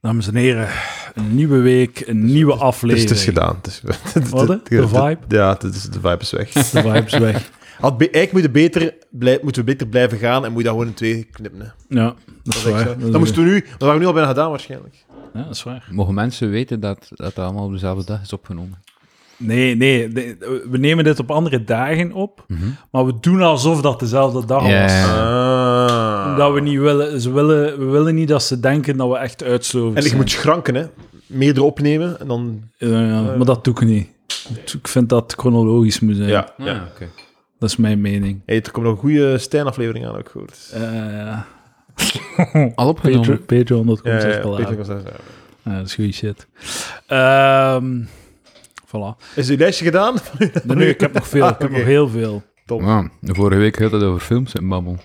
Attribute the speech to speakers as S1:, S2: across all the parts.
S1: Dames en heren, een nieuwe week, een nieuwe
S2: Dus
S1: aflevering.
S2: het is gedaan. Het is-
S1: Wat, hè? De vibe?
S2: Ja, het is, de vibe is weg.
S1: De vibes weg.
S3: Had be- eigenlijk moeten, beter blij- moeten we beter blijven gaan en moet je dat gewoon in twee knippen. hè.
S1: Ja, dat is
S3: Dat, is
S1: waar.
S3: echt zo.
S1: Dat is
S3: dat moesten we nu, dat hadden we nu al bijna gedaan waarschijnlijk.
S1: waar. Ja, dat is waar.
S4: Mogen mensen weten dat dat, dat allemaal op dezelfde dag is opgenomen?
S1: Nee, nee, nee, we nemen dit op andere dagen op,
S3: Mhm.
S1: maar we doen alsof dat dezelfde dag
S4: Ja,
S1: was.
S4: ja,
S3: Ah.
S1: Omdat we niet willen, ze willen, we willen niet dat ze denken dat we echt uitsloven
S3: En je moet schranken, hè. Meerdere opnemen en dan...
S1: maar dat doe ik niet. Ik vind dat het chronologisch moet zijn.
S3: Ja,
S4: ja.
S3: ja.
S4: Ah, oké.
S1: Dat is mijn mening.
S3: Hey, er komt nog een goede Stijn-aflevering aan, heb ik gehoord.
S1: Eh
S4: Al
S1: Patreon-
S4: opgenomen.
S1: Patreon.com
S3: Ja,
S1: slash
S3: ja,
S1: Palaver.
S3: Patreon was daar, ja.
S1: Ja, dat is goede shit. Ehm voilà.
S3: Is uw lijstje gedaan?
S1: Nee, nee, ik heb nog veel.
S3: Ah,
S1: ik heb
S3: oké.
S1: nog heel veel.
S4: Ja, de vorige week had het over films en babbel.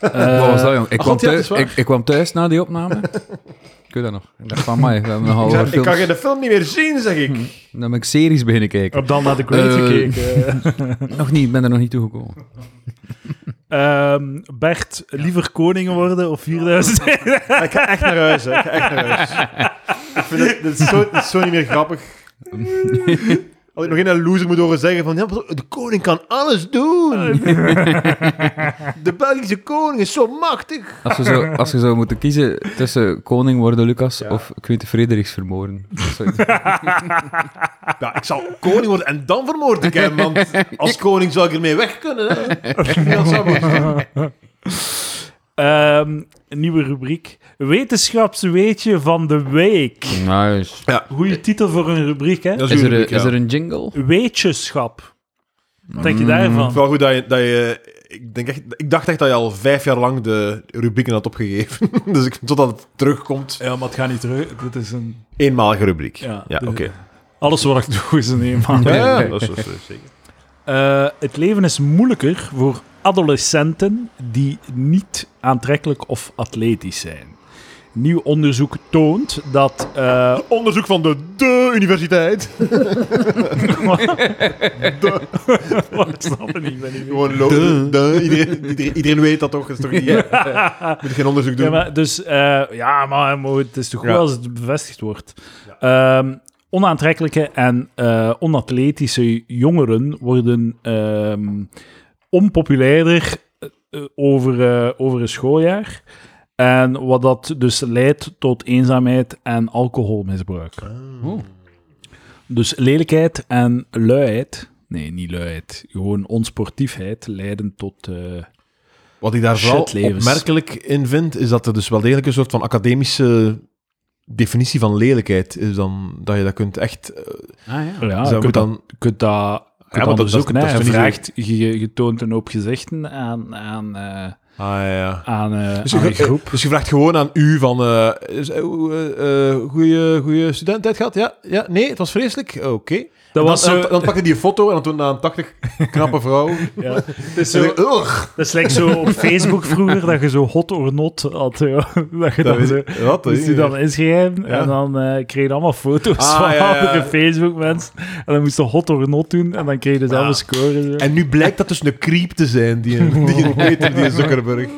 S1: Eh,
S4: Wat was dat, jong? Ik
S3: ah,
S4: kwam,
S3: god, ja, dat is
S4: thuis,
S3: waar.
S4: ik, ik kwam thuis na die opname. ik weet dat nog. Ik dacht van, mij, we hebben nogal
S3: Ik
S4: over
S3: zeg, ik
S4: films.
S3: kan je de film niet meer zien, zeg ik.
S4: Dan ben ik series beginnen
S1: ik
S4: kijken.
S1: heb dan naar de Great
S4: Eh.
S1: gekeken.
S4: Nog niet, ik ben er nog niet toegekomen.
S1: Ehm, Bert, liever koning worden of 4000?
S3: Maar Ik ga echt naar huis, hè. Ik ga echt naar huis. ik vind het, dit is zo, dit is zo niet meer grappig. Als ik nog een loser moet horen zeggen van... Ja, de koning kan alles doen. de Belgische koning is zo machtig.
S4: Als, we zo, als je zou moeten kiezen tussen koning worden Lucas
S3: Ja.
S4: of Quinte Frederiks vermoorden. Dat zou-
S3: Ja, ik zal koning worden en dan vermoord ik hem. Want als koning zou ik ermee weg kunnen. Hè. Ja, dat zou wel zijn.
S1: Ehm, een nieuwe rubriek. Wetenschapsweetje van de week.
S4: Nice.
S1: Goeie titel voor een rubriek, hè?
S4: Is er, een- is er een jingle?
S1: Weetjeschap. Wat denk je daarvan?
S3: Het is wel goed dat je... Dat je ik, denk echt, ik dacht echt dat je al vijf jaar lang de rubrieken had opgegeven. dus ik, totdat het terugkomt.
S1: Ja, maar het gaat niet terug. Dit is een...
S3: Eenmalige rubriek.
S1: Ja,
S3: Ja,
S1: de-
S3: oké.
S1: Alles wat ik doe is een eenmaal.
S3: Ja, ja, dat is dat is zeker.
S1: Eh, het leven is moeilijker voor adolescenten die niet aantrekkelijk of atletisch zijn. Nieuw onderzoek toont dat. eh,
S3: Onderzoek van de de universiteit.
S1: ik snap het niet, ik ben niet meer.
S3: Gewoon lo- de. Iedereen, iedereen, iedereen weet dat toch? Dat is toch niet, moet geen onderzoek doen.
S1: Ja, maar, dus eh, ja, maar maar het is toch goed
S3: Ja.
S1: als het bevestigd wordt. Ehm, onaantrekkelijke en eh, onatletische jongeren worden ehm, onpopulairder eh, eh, over, eh, over een schooljaar. En wat dat dus leidt tot eenzaamheid en alcoholmisbruik.
S3: Ah.
S4: Oeh.
S1: Dus lelijkheid en luiheid. Nee, niet luiheid. Gewoon onsportiefheid leiden tot. eh,
S3: Wat ik daar vooral
S1: Shitlevens.
S3: opmerkelijk in vind, is dat er dus wel degelijk een soort van academische definitie van lelijkheid is. Dan, dat je dat kunt echt... eh,
S4: Ah ja.
S1: ja,
S3: zou
S1: je kunt
S3: moeten dan,
S1: Je kunt dat,
S3: Ja,
S1: ja,
S3: want
S1: dat
S3: dat- dat-
S1: ook
S3: dat is
S1: Je
S3: toch niet
S1: vraagt, je, je- je toont een hoop gezichten aan, aan, eh,
S3: ah, ja, ja.
S1: aan, eh,
S3: Dus
S1: aan
S3: je,
S1: een groep.
S3: dus je vraagt gewoon aan u van... eh is- eh, hoe, eh, eh, goeie- Goede studententijd gehad? Ja, ja, nee, het was vreselijk. Oké.
S1: Dat
S3: Dan,
S1: was eh, zo,
S3: dan, dan pakte die een foto en dan toen aan 80 knappe vrouw.
S1: ja. Het is zo,
S3: Zo, ugh.
S1: dat is like zo op Facebook vroeger, dat je zo hot or not had. ja. Dat je
S3: Dat
S1: dan
S3: weet
S1: zo...
S3: ik- wat,
S1: Moest je
S3: hè?
S1: dan inschrijven
S3: Ja.
S1: en dan eh, kreeg je allemaal foto's
S3: Ah,
S1: van
S3: ja, ja, ja.
S1: andere Facebook-mensen. En dan moest je hot or not doen en dan kreeg je dezelfde
S3: Ja.
S1: score. zo.
S3: En nu blijkt dat dus een creep te zijn, die, die, Peter, die Zuckerberg.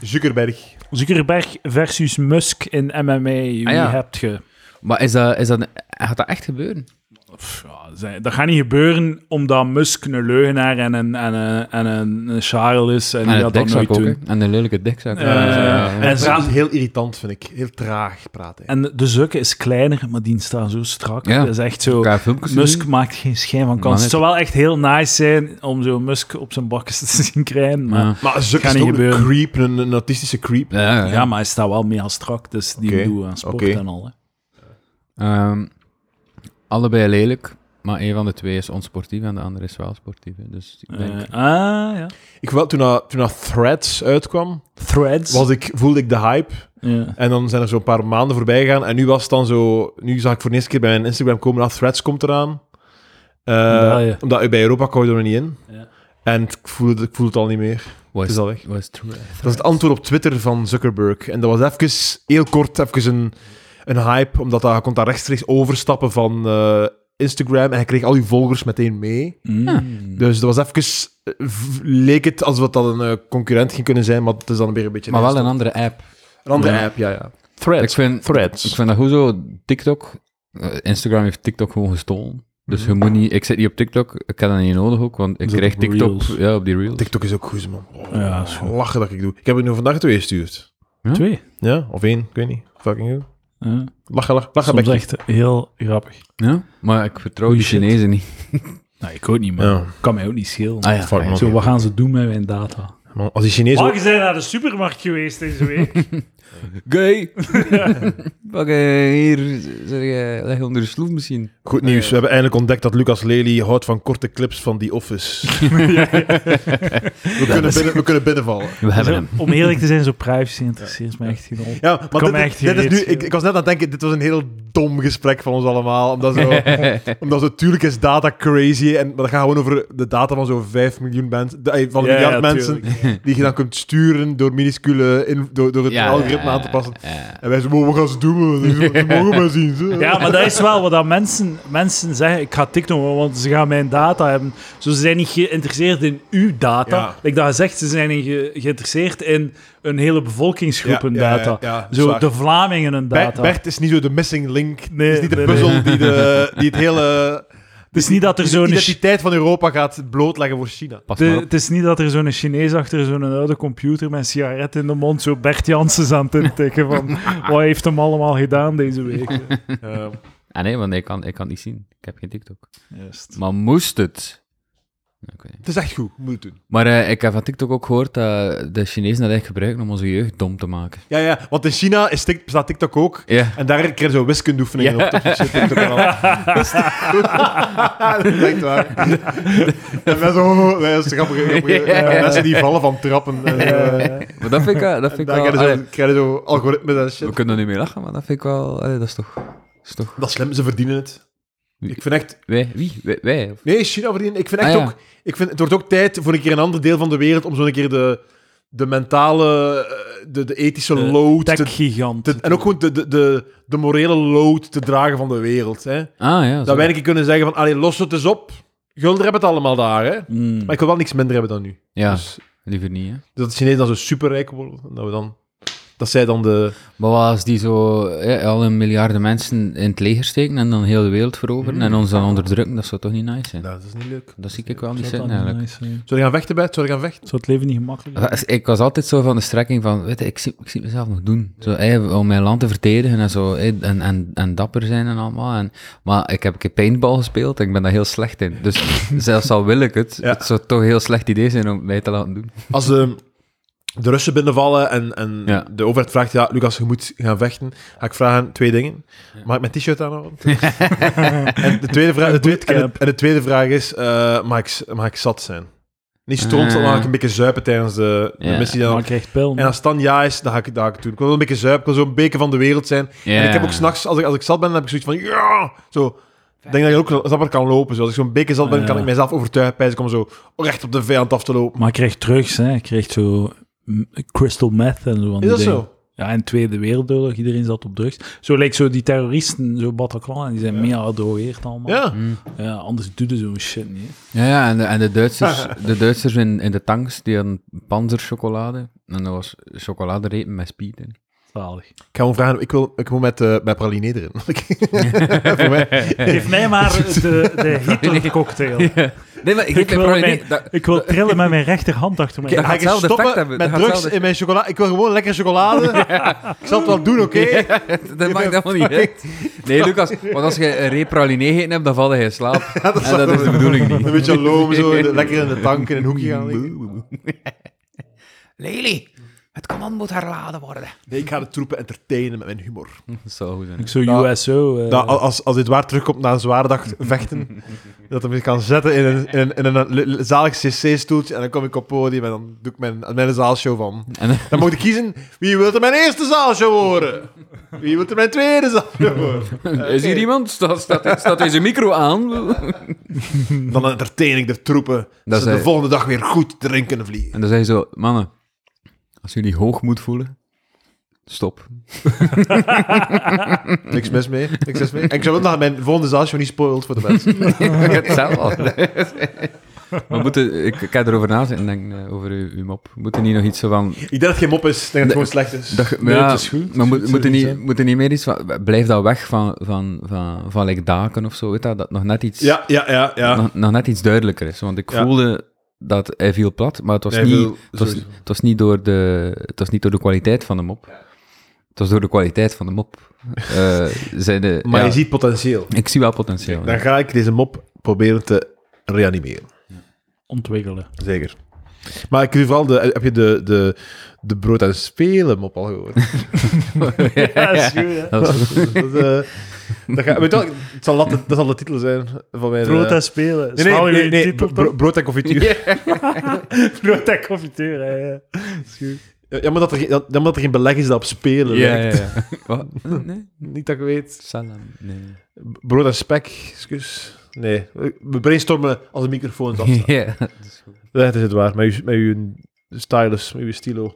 S3: Zuckerberg.
S1: Zuckerberg versus Musk in MMA, wie
S4: Ah, ja.
S1: hebt je?
S4: Maar is dat, is dat, gaat dat echt gebeuren?
S1: Pff, ja, zij- dat gaat niet gebeuren omdat Musk een leugenaar en een, en een, en een, een charl is en,
S4: En
S1: die
S4: een
S1: dat dan
S4: dikzak
S1: nooit
S4: ook,
S1: doen.
S4: hè? En een lelijke dikzak.
S1: Eh,
S4: Ja,
S1: ja.
S4: ja.
S1: En,
S3: Dat
S1: ze-
S3: is heel irritant, vind ik. Heel traag praten.
S1: en de zukke is kleiner, maar die staan zo strak.
S4: Ja.
S1: Dat is echt zo...
S4: Elkaar filmpjes
S1: Musk
S4: zien.
S1: maakt geen schijn van
S4: Man,
S1: kans. Het
S4: het-
S1: zou wel echt heel nice zijn om zo Musk op zijn bakjes te zien krijgen, maar... Ja.
S4: Ja.
S3: maar Zuck
S1: Kan
S3: is
S1: niet
S3: toch een
S1: gebeuren.
S3: creep, een, een autistische creep.
S4: Ah, Ja, ja, ja.
S1: maar hij staat wel mega strak, dus die
S3: Oké,
S1: doet aan sport
S3: oké.
S1: en al. Hè.
S4: Ehm, allebei lelijk, maar een van de twee is onsportief en de andere is wel sportief. hè. Dus ik denk,
S1: Eh, ah, ja.
S3: Ik wel, toen, dat- toen dat Threads uitkwam,
S1: Threads.
S3: was ik, voelde ik de hype.
S1: Ja.
S3: En dan zijn er zo'n paar maanden voorbij gegaan. En nu was het dan zo... Nu zag ik voor de eerste keer bij mijn Instagram komen dat Threads komt eraan. Eh,
S1: Ja, ja.
S3: Omdat bij Europa kon je er nog niet in.
S1: Ja.
S3: En ik voel, het, ik voel het al niet meer.
S4: wat
S3: Het
S4: is,
S3: is al weg.
S4: wat is true?
S3: Dat is het antwoord op Twitter van Zuckerberg. En dat was even, heel kort, even een, een hype, omdat hij kon daar rechtstreeks overstappen van eh, Instagram en hij kreeg al uw volgers meteen mee.
S1: Mm.
S4: Hmm.
S3: Dus dat was even, eh, v- leek het alsof dat een eh, concurrent ging kunnen zijn, maar het is dan weer een beetje...
S4: Maar wel
S3: een,
S4: een andere app.
S3: een andere
S1: Ja.
S3: app, ja, ja.
S1: Threads.
S4: Ik vind,
S1: Threads.
S4: Ik vind dat goed zo. TikTok, eh, Instagram heeft TikTok gewoon gestolen. Dus je moet niet, ik zit niet op TikTok, ik heb dat niet nodig ook, want ik
S1: Mhm. Dus op
S4: krijg TikTok
S1: Reels.
S4: ja, op die Reels.
S5: TikTok is ook goed, man. Oh,
S1: Ja, is goed.
S5: lachen dat ik doe. Ik heb er nu vandaag twee gestuurd.
S1: Twee.
S5: Ja, of één, ik weet niet. Fucking goed.
S1: Ja.
S5: Lachen, lachen, lachen.
S1: Soms
S5: Becky.
S1: echt heel grappig.
S4: Ja? Maar ik vertrouw
S1: Holy
S4: die
S1: shit.
S4: Chinezen niet.
S1: Nou, ik ook niet, maar
S5: Ja,
S1: kan mij ook niet schelen.
S4: Ah ja,
S5: fuck, man.
S1: Zo, wat gaan ze doen met mijn data?
S5: Man, Als die Chinezen...
S6: Maar je bent naar de supermarkt geweest deze week.
S4: Gay! Pak eh, hier, zeg, eh, leg onder de sloef misschien.
S5: Goed
S1: Eh.
S5: nieuws, we hebben eindelijk ontdekt dat Lucas Lely houdt van korte clips van The Office.
S3: We, kunnen binnen, we kunnen binnenvallen.
S4: We hebben
S1: Zo, om eerlijk te zijn, zo privacy interesseert me echt geen rol.
S3: Ja, maar
S1: Kan
S3: dit,
S1: mij echt
S3: dit is
S1: geen
S3: nu,
S1: reet
S3: ik, ik was net aan het denken, dit was een heel dom gesprek van ons allemaal. Omdat zo, omdat zo, tuurlijk is data crazy. En, maar dat gaat gewoon over de data van zo'n 5 miljoen mensen, de- eh, van een
S1: Ja,
S3: miljard
S1: ja,
S3: mensen.
S1: tuurlijk.
S3: Die je dan kunt sturen door minuscule, in, door, door het algoritme aan te passen.
S4: ja.
S3: En wij zo, "Wow, we gaan ze doen, we ze mogen maar zien. Ze.
S1: Ja, maar dat is wel wat dat mensen, mensen zeggen. Ik ga TikTok, want ze gaan mijn data hebben. Zo, ze zijn niet geïnteresseerd in uw data.
S3: Ja.
S1: Like dat gezegd, ze zijn in ge- geïnteresseerd in een hele bevolkingsgroepen
S3: Ja, ja,
S1: data.
S3: ja, ja,
S1: zo,
S3: zwaar.
S1: de Vlamingen een
S3: Ber-
S1: data.
S3: Bert is niet zo de missing link.
S1: Nee,
S3: het is niet de
S1: nee,
S3: puzzel die, de, die het hele...
S1: het is niet dat er
S3: de
S1: zo'n...
S3: identiteit van Europa gaat blootleggen voor China.
S4: Pas
S1: de-
S4: maar op.
S1: het is niet dat er zo'n Chinees achter zo'n oude computer met een sigaret in de mond zo Bert Janssens aan het intikken van wat heeft hem allemaal gedaan deze week.
S3: Ja.
S4: Ah nee, want ik kan, ik kan het niet zien. Ik heb geen TikTok.
S1: Juist.
S4: Maar moest het? Oké.
S3: Het is echt goed, moet het doen.
S4: Maar eh, ik heb van TikTok ook gehoord dat de Chinezen dat echt gebruiken om onze jeugd dom te maken.
S3: Ja, ja, want in China is tik, bestaat TikTok ook.
S4: Ja.
S3: En daar krijg je zo wiskundeoefeningen
S4: Ja.
S3: op. Dat is TikTok al. Dus- Dat is echt waar. En wij zo, wij is grappige, grappige
S4: Ja.
S3: mensen die vallen van trappen. En, eh, en
S4: Maar dat vind ik, eh, dat vind ik
S3: daar
S4: wel...
S3: krijg je, zo,
S4: allee,
S3: krijg je zo algoritmes en shit.
S4: we kunnen er niet meer lachen, maar dat vind ik wel... allee, dat is toch... dat is toch
S3: Dat is slim, ze verdienen het. Ik vind echt...
S4: wij? Wie? Wij? wij of-
S3: Nee, China verdienen... Ik vind echt
S4: Ah, ja.
S3: ook... Ik vind, het wordt ook tijd voor een keer een ander deel van de wereld om zo'n keer de, de mentale... eh, De, de ethische
S1: De
S3: lood... te-
S1: Tech-gigant.
S3: te- en ook gewoon de, de, de, de morele lood te dragen van de wereld. Hè?
S4: Ah ja,
S3: Dat
S4: zo.
S3: wij een keer kunnen zeggen van, allee, los het eens op. Gulden hebben het allemaal daar, hè.
S1: Mm.
S3: Maar ik wil wel niks minder hebben dan nu.
S4: Hmm. Ja,
S3: Dus,
S4: liever niet, hè.
S3: dat de Chinezen dan zo superrijk worden, en dat we dan... Dat zij dan de...
S4: Maar wat als die zo eh, al een miljarden mensen in het leger steken en dan heel de wereld veroveren en ons dan onderdrukken, dat zou toch niet nice zijn?
S3: dat is niet leuk.
S4: Dat zie ik wel niet
S1: Zou dat
S4: zitten,
S1: niet
S4: eigenlijk.
S1: nice zijn?
S3: Zou je gaan vechten, Bert? Zou je gaan vechten?
S1: Zou het leven niet gemakkelijker
S4: Ja, Ah, Ik was altijd zo van de strekking van, weet je, ik zie, ik zie mezelf nog doen. Zo, hey, om mijn land te verdedigen en zo, hey, en, en, en dapper zijn en allemaal. En, maar ik heb een keer paintball gespeeld en ik ben daar heel slecht in. Dus zelfs al wil ik het,
S3: Ja.
S4: het zou toch een heel slecht idee zijn om mij te laten doen.
S3: Als de, de Russen binnenvallen en, en
S4: Ja.
S3: de overheid vraagt, ja, Lucas, je moet gaan vechten, ga ik vragen twee dingen. Mag ik mijn t-shirt aan houden? en, de tweede vraag, de tweede, en, de,
S1: bootcamp.
S3: en de tweede vraag is, eh, mag, ik, mag ik zat zijn? Niet stront, maar
S4: Ah.
S3: mag ik een beetje zuipen tijdens de, de
S4: Ja.
S3: missie. die
S1: Ja,
S3: dan-
S1: maar ik krijg pil.
S3: En als het dan ja is, dan ga ik, dan ga ik het doen. Ik wil wel een beetje zuipen, ik wil zo'n beker van de wereld zijn. En ik heb ook s'nachts, als ik, als ik zat ben, dan heb ik zoiets van, ja, zo. Ik denk dat je ook zapper kan lopen. Zo. Als ik zo'n beker zat ben,
S1: Ja.
S3: kan ik mezelf overtuigen bij om zo recht op de vijand af te lopen.
S1: Maar ik kreeg drugs, hè. Ik kreeg zo mm, crystal meth en zo. van
S3: Is
S1: die
S3: dat
S1: dingen.
S3: zo?
S1: Ja, in Tweede Wereldoorlog, iedereen zat op drugs. Zo lijkt zo die terroristen, zo Bataclan, en die zijn mega gedrogeerd allemaal.
S3: Ja.
S1: Ja, anders doe je zo'n shit niet. hè.
S4: Ja, ja en de, en de Duitsers, de Duitsers in, in de tanks, die hadden panzerchocolade. En dat was chocoladerepen met speed in.
S1: Zalig.
S3: Ik ga hem vragen, ik wil, ik wil met, eh met praline erin. Voor mij.
S1: Geef mij maar de, de Hitler-cocktail.
S4: Nee, maar
S1: Ik
S4: ik, ik,
S1: wil
S4: probeer
S1: mij-
S4: niet- dat-
S1: Ik wil trillen met mijn rechterhand achter mij.
S4: Dat
S3: Dan ga
S4: gaat
S3: ik eens
S4: hetzelfde effect
S3: stoppen met
S4: hebben. Dat gaat
S3: drugs
S4: hetzelfde-
S3: in mijn chocolade. Ik wil gewoon lekker chocolade. Ik zal het wel doen, oké?
S4: Dat maakt helemaal niet uit. Nee, Lucas, want als je een repraliné gegeten hebt, dan val je in slaap. en dat is de bedoeling niet.
S3: Een beetje loom, zo in de- lekker in de tank in een hoekje gaan liggen.
S4: Lely, het command moet herladen worden.
S3: Nee, ik ga de troepen entertainen met mijn humor.
S4: Dat zou goed zijn.
S1: Ik zo
S3: Dat-
S1: USO. eh,
S3: Dat, als, als dit waar terugkomt na een zware dag vechten, dat hem zich kan zetten in een, in een, in een l- l- zalig cc-stoeltje en dan kom ik op het podium en dan doe ik mijn, mijn zaalshow van.
S4: En eh, dan-
S3: Dan moet ik kiezen, wie wil er mijn eerste zaalshow horen? Wie wil er mijn tweede zaalshow horen?
S4: Is hier iemand? Staat, staat, staat deze micro aan?
S3: Dan entertain ik de troepen,
S4: Dat
S3: dat ze de
S4: zei-
S3: volgende dag weer goed drinken kunnen vliegen.
S4: En dan zeg je zo, mannen, als jullie hoogmoed voelen, stop.
S3: Niks mis mee, niks mis mee. En ik zou wel dat mijn volgende zaalshow niet spoilt voor de mensen.
S4: Ik heb het zelf al. Maar moeten, ik, ik heb erover na zitten denken, eh, over uw, uw mop. Moeten niet nog iets zo van...
S7: Ik denk dat het geen mop is, ik denk dat het gewoon slecht is.
S4: Dat, ge-
S3: Nee,
S4: ja,
S3: het is goed.
S4: Maar moet,
S3: Het zou
S4: moet, er
S3: niet
S4: niet,
S3: zijn.
S4: moet er niet meer iets van... Blijf dat weg van, van, van, van like daken of zo, weet dat, dat nog net iets...
S3: Ja, ja, ja. ja.
S4: Nog, nog net iets duidelijker is. Want ik
S3: Ah. Ja.
S4: voelde dat hij viel plat, maar het was,
S3: Hij
S4: niet,
S3: viel
S4: het was,
S3: sowieso.
S4: het was niet, door de, het was niet door de kwaliteit van de mop. Het was door de kwaliteit van de mop. Eh, zijn de,
S3: maar
S4: ja,
S3: je ziet potentieel.
S4: Ik zie wel potentieel.
S3: Dan
S4: ja.
S3: ga ik deze mop proberen te reanimeren.
S1: Ontwikkelen.
S3: Zeker. Maar ik wil vooral de, heb je de, de, de brood en spelen mop al gehoord?
S8: Ja, is goed, hè.
S4: Dat is-
S3: dat, is, eh, dat, ga, weet je wel, het zal latte- dat zal de titel zijn van mijn... eh,
S8: Brood en spelen.
S3: Nee, nee, nee, nee,
S8: titel
S3: bro-
S8: toch?
S3: brood en confituur.
S8: Brood en confituur, hè, ja. Is goed.
S3: Jammer dat, er, geen- dat- jammer dat er geen beleg is dat op spelen
S4: Ja,
S3: lijkt.
S4: ja, ja. Wat? Nee,
S3: Niet dat ik weet.
S4: salam. Nee.
S3: Brood en spek, excuus. Nee, we brainstormen als de microfoons afstaan.
S4: Ja, dat is goed.
S3: Dat is het waar, met uw, met uw stylus, met uw stilo.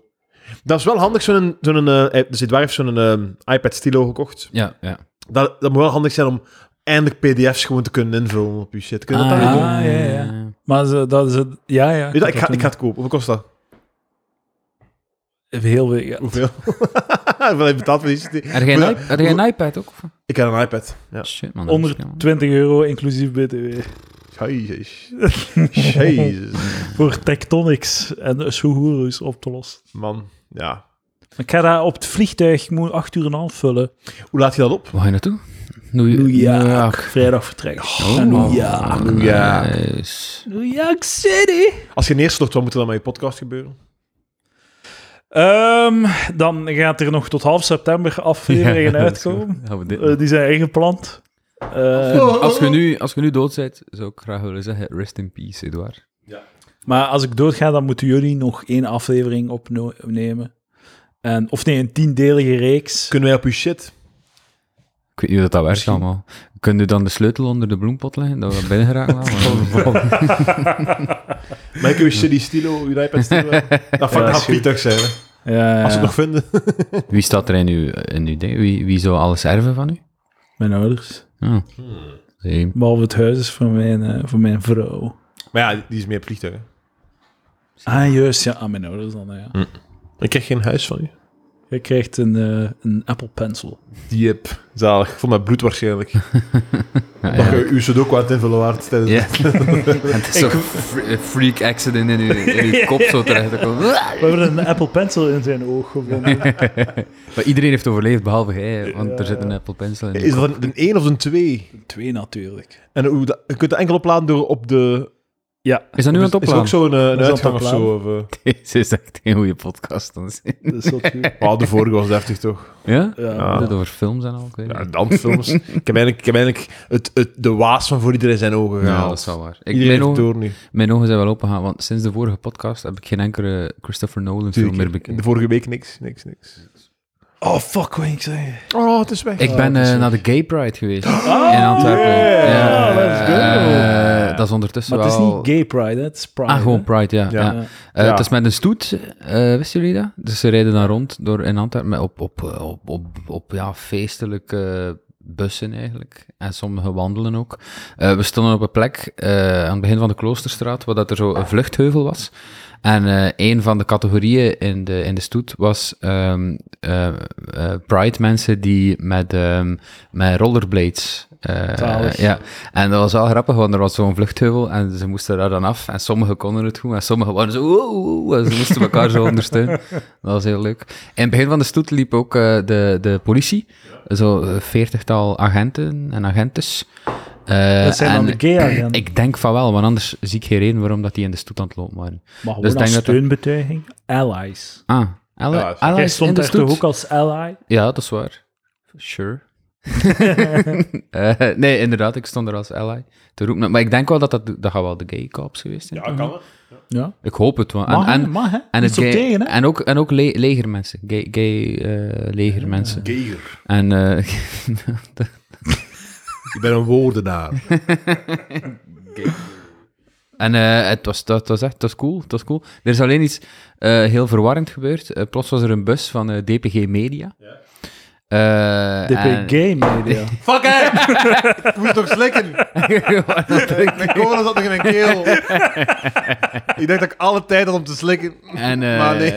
S3: Dat is wel handig, zo'n... zo'n eh, hij- dus Edouard heeft zo'n eh, iPad stilo gekocht.
S4: Ja, ja.
S3: Dat, dat moet wel handig zijn om eindelijk pdf's gewoon te kunnen invullen op je shit. Kun je dat dan
S1: Ah,
S3: niet doen?
S1: ja, ja, ja. Maar ze, dat is het... Ja, ja.
S3: Weet je, ik, ga, ik ga het kopen. Hoeveel kost dat?
S1: Even Heel veel... ja.
S3: Hoeveel? Hoeveel heb je betaald voor die shit?
S4: Had jij een, i- had jij een iPad ook? of?
S3: Ik heb een iPad. Ja.
S4: Shit, man. dat is
S1: Onder
S4: jammer.
S1: 20 euro inclusief BTW.
S3: Jezus. Jezus.
S1: Voor Tectonics en Suhurus op te lossen.
S3: Man, ja.
S1: Ik ga dat op het vliegtuig, ik moet 8 uur en een half vullen.
S3: Hoe laat je dat op?
S4: Waar ga je naartoe? New
S1: New York.
S4: York.
S1: Vrijdag vertrekken.
S4: Oh.
S1: En New York.
S3: New York.
S4: Nice.
S1: New York City.
S3: Als je neerstort, wat moet er dan met je podcast gebeuren? Dus
S1: Ehm, dan gaat er nog tot half september afleveringen
S4: Ja, dat is
S1: uitkomen.
S4: goed. Gaan we dit
S1: Eh, die zijn ingepland. Eh,
S4: Als je, nu, als je nu dood bent, zou ik graag willen zeggen: rest in peace, Edouard.
S1: Maar als ik doodga, dan moeten jullie nog één aflevering opnemen. En, of nee, een tiendelige reeks.
S3: Kunnen wij op je shit?
S4: Ik weet niet hoe dat, dat werkt allemaal. Kun je dan de sleutel onder de bloempot leggen, dat we binnen geraken? maar-
S3: Maar ik heb je shit, die stilo, je iPad stilo. Dat fuck,
S1: dat is
S3: dat
S1: goed.
S3: Pieter zijn. hè.
S1: Ja,
S3: Als ze
S1: ja.
S3: het nog vinden.
S4: Wie staat er in uw, in uw ding? Wie, wie zou alles erven van u?
S1: Mijn ouders.
S4: Ah. Zeem.
S1: Behalve het huis is van mijn, eh, van mijn vrouw.
S3: Maar ja, die is meer vliegtuig.
S1: Ah, juist. Ja, aan mijn ouders dan, ja.
S4: Hm.
S3: Ik krijg geen huis van u.
S1: Je krijgt een, eh, een Apple Pencil.
S3: Diep. Zalig. Voor mijn bloed waarschijnlijk.
S4: Ja,
S3: Dat
S4: ja.
S3: je uw sudoku aan het invullen waard tijdens
S4: Ja. Het is zo'n fre- freak accident in uw, in uw kop zo terecht te komen.
S1: We hebben een Apple Pencil in zijn oog gevonden.
S4: Maar iedereen heeft overleefd, behalve jij, want er zit een Apple Pencil in. uw
S3: Is
S4: kop.
S3: dat een- een 1 of een 2?
S1: Twee natuurlijk.
S3: En hoe dat, je kunt het enkel opladen door op de...
S1: Ja,
S4: Is dat nu aan het
S3: Is er
S4: opladen?
S3: ook zo'n eh, een
S1: is aan het
S3: uitgang of zo? Of, eh?
S4: Dit is echt een goede podcast. Dan.
S1: dat is wat goed.
S3: Ah, de vorige was deftig toch?
S4: Ja?
S1: Ja.
S3: Ah.
S4: Dat over films en al. ik weet
S3: Ja,
S4: niet.
S3: dansfilms. ik heb eigenlijk, ik heb eigenlijk het, het, de waas van voor iedereen zijn ogen
S4: Ja,
S3: gehaald.
S4: dat is wel waar. Ik,
S3: Iedereen
S4: mijn,
S3: heeft
S4: ogen,
S3: door nu.
S4: mijn ogen zijn wel opengegaan, want sinds de vorige podcast heb ik geen enkele Christopher Nolan film meer
S3: Tuurlijk,
S4: bekeken.
S3: De vorige week niks, niks, niks.
S1: Oh, fuck, wat ging ik zeggen?
S3: Oh, het is weg.
S4: Ik ben eh, naar de Gay Pride geweest in Antwerpen.
S3: Ah, yeah, Ah,
S4: Ja,
S1: let's go.
S4: eh, dat is ondertussen
S1: Maar het is
S4: wel...
S1: niet gay pride, hè? het is pride.
S4: Ah, gewoon
S1: hè?
S4: Pride, ja. ja.
S3: Ja.
S1: Ja.
S4: Eh,
S3: Ja.
S4: Het is met een stoet, eh, wisten jullie dat? Dus ze rijden dan rond door in Antwerpen met op, op, eh, op, op, op ja, feestelijke bussen eigenlijk. En sommigen wandelen ook. Eh, we stonden op een plek eh, aan het begin van de Kloosterstraat, waar dat er zo een vluchtheuvel was. En eh, een van de categorieën in de, in de stoet was ehm, eh, eh, Pride mensen die met, ehm, met rollerblades. eh,
S1: Zalig.
S4: ja, en dat was wel grappig, want er was zo'n vluchtheuvel en ze moesten daar dan af. En sommigen konden het goed en sommigen waren zo... "Oeh, oeh, oeh," en ze moesten elkaar zo ondersteunen. Dat was heel leuk. In het begin van de stoet liep ook eh, de, de politie. Zo'n veertigtal agenten en agentes. Eh,
S1: Dat zijn dan
S4: en
S1: de gay agenten.
S4: Ik denk van wel, want anders zie ik geen reden waarom dat die in de stoet aan het lopen waren.
S1: Maar gewoon
S4: Dus
S1: als
S4: denk dat dat-
S1: steunbetuiging, allies.
S4: Ah, alle,
S3: Ja,
S4: alle
S1: Jij
S4: is in
S1: stond
S4: de
S1: daar toch
S4: stoet.
S1: ook als ally?
S4: Ja, dat is waar. Sure. Eh, nee, inderdaad, ik stond er als ally te roepen. Maar ik denk wel dat dat, dat gaan wel de gay cops geweest zijn. toch?
S3: het.
S1: Ja.
S4: Ik hoop het wel. En,
S1: Mag, hè?
S4: en,
S1: Mag, hè?
S4: en, het eh,
S1: Niets op
S4: gay-
S1: tegen, hè?
S4: en ook, en ook le- legermensen. Gay, gay eh, legermensen.
S3: Geiger.
S4: En eh,
S3: Ik ben een woordenaar.
S4: En eh, het, was, dat, was echt het was cool, het was cool. Er is alleen iets eh, heel verwarrend gebeurd. Eh, plots was er een bus van eh, DPG Media. Eh,
S1: DP
S4: en-
S1: Game Media.
S7: Fuck it! ik moest toch slikken. Mijn kolen zat nog in mijn keel. ik dacht dat ik alle tijd had om te slikken.
S4: en, eh,
S7: maar nee.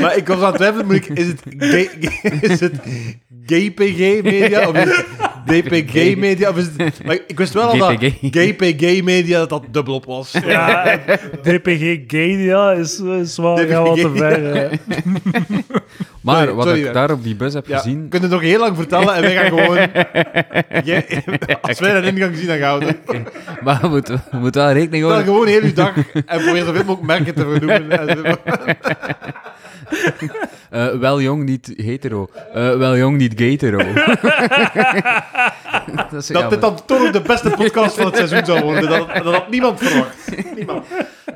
S7: maar ik was aan het twijfelen, moet ik, is het, gay- is het GPG Media of is het DPG Media? Of is het, maar ik wist wel al dat
S4: GPG.
S7: GPG Media dat dat dubbelop was.
S1: Ja, DPG Gadia is, is wel
S7: DPG
S1: gaan wat te
S7: Gadia.
S1: ver. eh.
S4: Maar
S7: Sorry,
S4: wat
S7: sorry,
S4: ik
S7: Bert.
S4: daar op die bus heb
S7: Ja,
S4: gezien...
S7: je kunt het nog heel lang vertellen en wij gaan gewoon... Jij- als wij dat ingang zien, dan gaan we het.
S4: Maar we moeten, we moeten wel rekening
S7: Stel
S4: houden.
S7: gewoon heel uw dag en probeer zoveel mogelijk merken te vernoemen.
S4: Eh, wel jong, niet hetero. Eh, wel jong, niet hetero. dat is
S7: Dat
S4: jammer.
S7: dit dan toch de beste podcast van het seizoen zal worden. Dat, dat had niemand verwacht.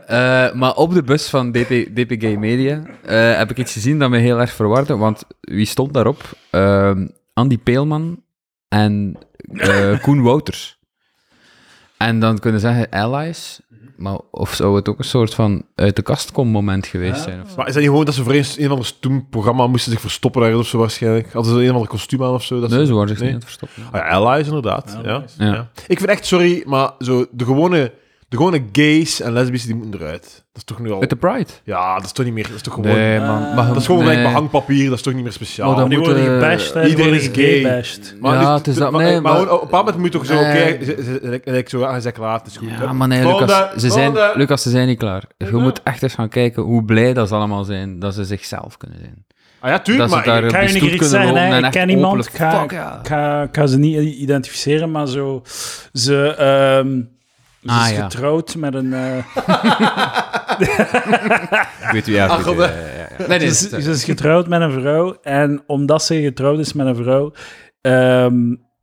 S4: Eh, maar op de bus van DP, DPG Media eh, heb ik iets gezien dat me heel erg verwarde. Want wie stond daarop? Ehm, Andy Peelman en eh, Koen Wouters. En dan kunnen ze zeggen allies. Maar of zou het ook een soort van uit de kast kom moment geweest zijn? Of zo?
S3: Maar is dat niet gewoon dat ze voor eens een of ander toen programma moesten zich verstoppen ergens of zo waarschijnlijk? Hadden ze een of ander kostuum aan of zo? Dat ze-
S4: Nee, ze waren zich
S3: Nee.
S4: niet aan het
S3: Ah,
S4: verstoppen.
S3: ja, allies inderdaad. Ja,
S4: Ja.
S3: Ja. Ik vind echt, sorry, maar zo de gewone, de gewone gays en lesbische die moeten eruit. Dat is toch nu al...
S4: Uit de Pride?
S3: Ja, dat is toch niet meer... Dat is toch gewoon...
S4: man.
S3: Eh, Dat is gewoon gelijk behangpapier, dat is toch niet meer speciaal.
S4: Maar dan
S1: Die
S4: moet,
S1: worden
S4: eh,
S1: gebashed, hè. Die
S3: iedereen
S1: worden
S3: is gay.
S1: gebashed.
S3: Maar
S4: Ja,
S3: dus-
S4: het is
S3: de-
S4: dat-
S3: maar,
S4: nee,
S3: maar,
S4: maar-
S3: gewoon op een bepaald moment moet toch zo, oké, ze-
S4: Nee.
S3: ze- ze- like- like zo, ah, ze zijn klaar, het is goed.
S4: Ja, maar nee,
S3: Volgende,
S4: Lucas, ze zijn,
S3: volgende.
S4: Lucas, ze zijn niet klaar. Je moet echt eens gaan kijken hoe blij dat ze allemaal zijn dat ze zichzelf kunnen zijn.
S3: Ah ja,
S4: Dat
S3: tuurlijk,
S4: ze
S3: maar...
S4: daar
S3: ik-
S1: Ga
S4: op
S1: je
S4: die
S1: niet
S4: stoel
S1: iets
S4: kunnen
S1: zeggen,
S4: lopen
S1: hè?
S4: en
S1: ik
S4: echt
S1: ken iemand,
S4: openlijk,
S1: ik ga,
S4: fuck ja.
S1: ik ga, ik ga ze niet eh, identificeren, maar zo... Ze, ehm, ze
S4: Ah,
S1: is
S4: ja.
S1: getrouwd met een... eh,
S4: Ik weet u ja,
S7: Ach,
S4: goed,
S7: god,
S4: eh, ja, ja. Nee,
S1: ze,
S4: dit
S1: is,
S4: is-
S1: ze is getrouwd met een vrouw en omdat ze getrouwd is met een vrouw, ehm,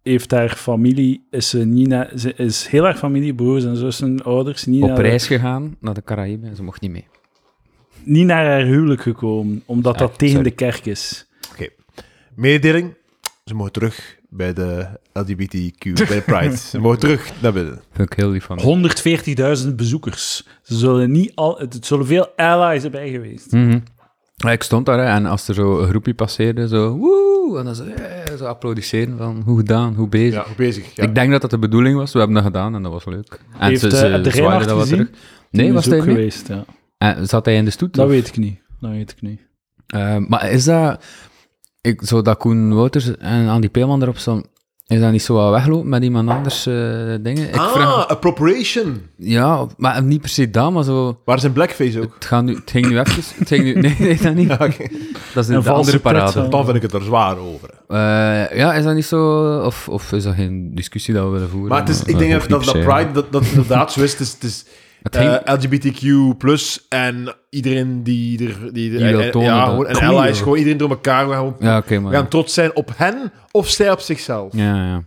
S1: heeft haar familie... Is ze, Nina, ze is heel erg familie, broers en zussen, ouders. Niet
S4: op
S1: naar,
S4: reis gegaan naar de Caraïben en ze mocht niet mee.
S1: niet naar haar huwelijk gekomen, omdat dat
S4: Ah,
S1: tegen
S4: sorry.
S1: de kerk is.
S3: Mededeling, ze mogen terug bij de LGBTQ, bij de Pride. ze mogen terug naar binnen.
S4: Vind ik heel lief van.
S1: 140.000 bezoekers. Ze zullen niet al, het, het zullen veel allies erbij geweest.
S4: Mhm. Ja, Ik stond daar hè, en als er zo een groepje passeerde, zo woe, en dan zo, eh, zo applaudisseren van hoe gedaan, hoe bezig.
S3: Ja, goed bezig. Ja.
S4: Ik denk dat dat de bedoeling was, we hebben dat gedaan en dat was leuk. En
S1: Heeft, eh, heb de
S4: zwaaiden
S1: Reinhard
S4: dat wat
S1: gezien?
S4: terug. Nee,
S1: Een
S4: was
S1: bezoek
S4: hij mee?
S1: geweest, ja.
S4: En zat hij in de stoet?
S1: Dat
S4: of?
S1: weet ik niet. Dat weet ik niet.
S4: Eh, maar is dat... Ik, zo dat Koen Wouters en Andy Peelman erop staan, is dat niet zo wat weglopen met iemand anders eh, dingen? Ik vraag,
S3: Ah, appropriation.
S4: ja, maar niet per se dat, maar zo...
S3: Waar is een blackface ook?
S4: Het, gaat nu, het ging nu even... Het ging nu, nee, nee, dat niet.
S3: oké.
S4: Dat is
S1: Een
S4: een de
S1: valse
S4: andere
S1: pret,
S4: parade.
S1: zo.
S3: Dan vind ik het er zwaar over.
S4: Eh, ja, is dat niet zo... Of, of is dat geen discussie dat we willen voeren?
S3: Maar het is, ik
S4: Dat
S3: denk dat,
S4: hoeft
S3: dat,
S4: niet
S3: dat
S4: per se.
S3: Pride dat, dat inderdaad zo is. Het is, het is
S4: Het ging-
S3: eh, LGBTQ plus en iedereen die er... Die,
S4: Die wil
S3: en- en-
S4: tonen
S3: ja,
S4: dat-
S3: gewoon, en
S4: Cool.
S3: allies, gewoon iedereen door elkaar. We gaan, gewoon-
S4: Ja, oké, maar...
S3: we gaan trots zijn op hen of zij op zichzelf.
S4: Ja, ja.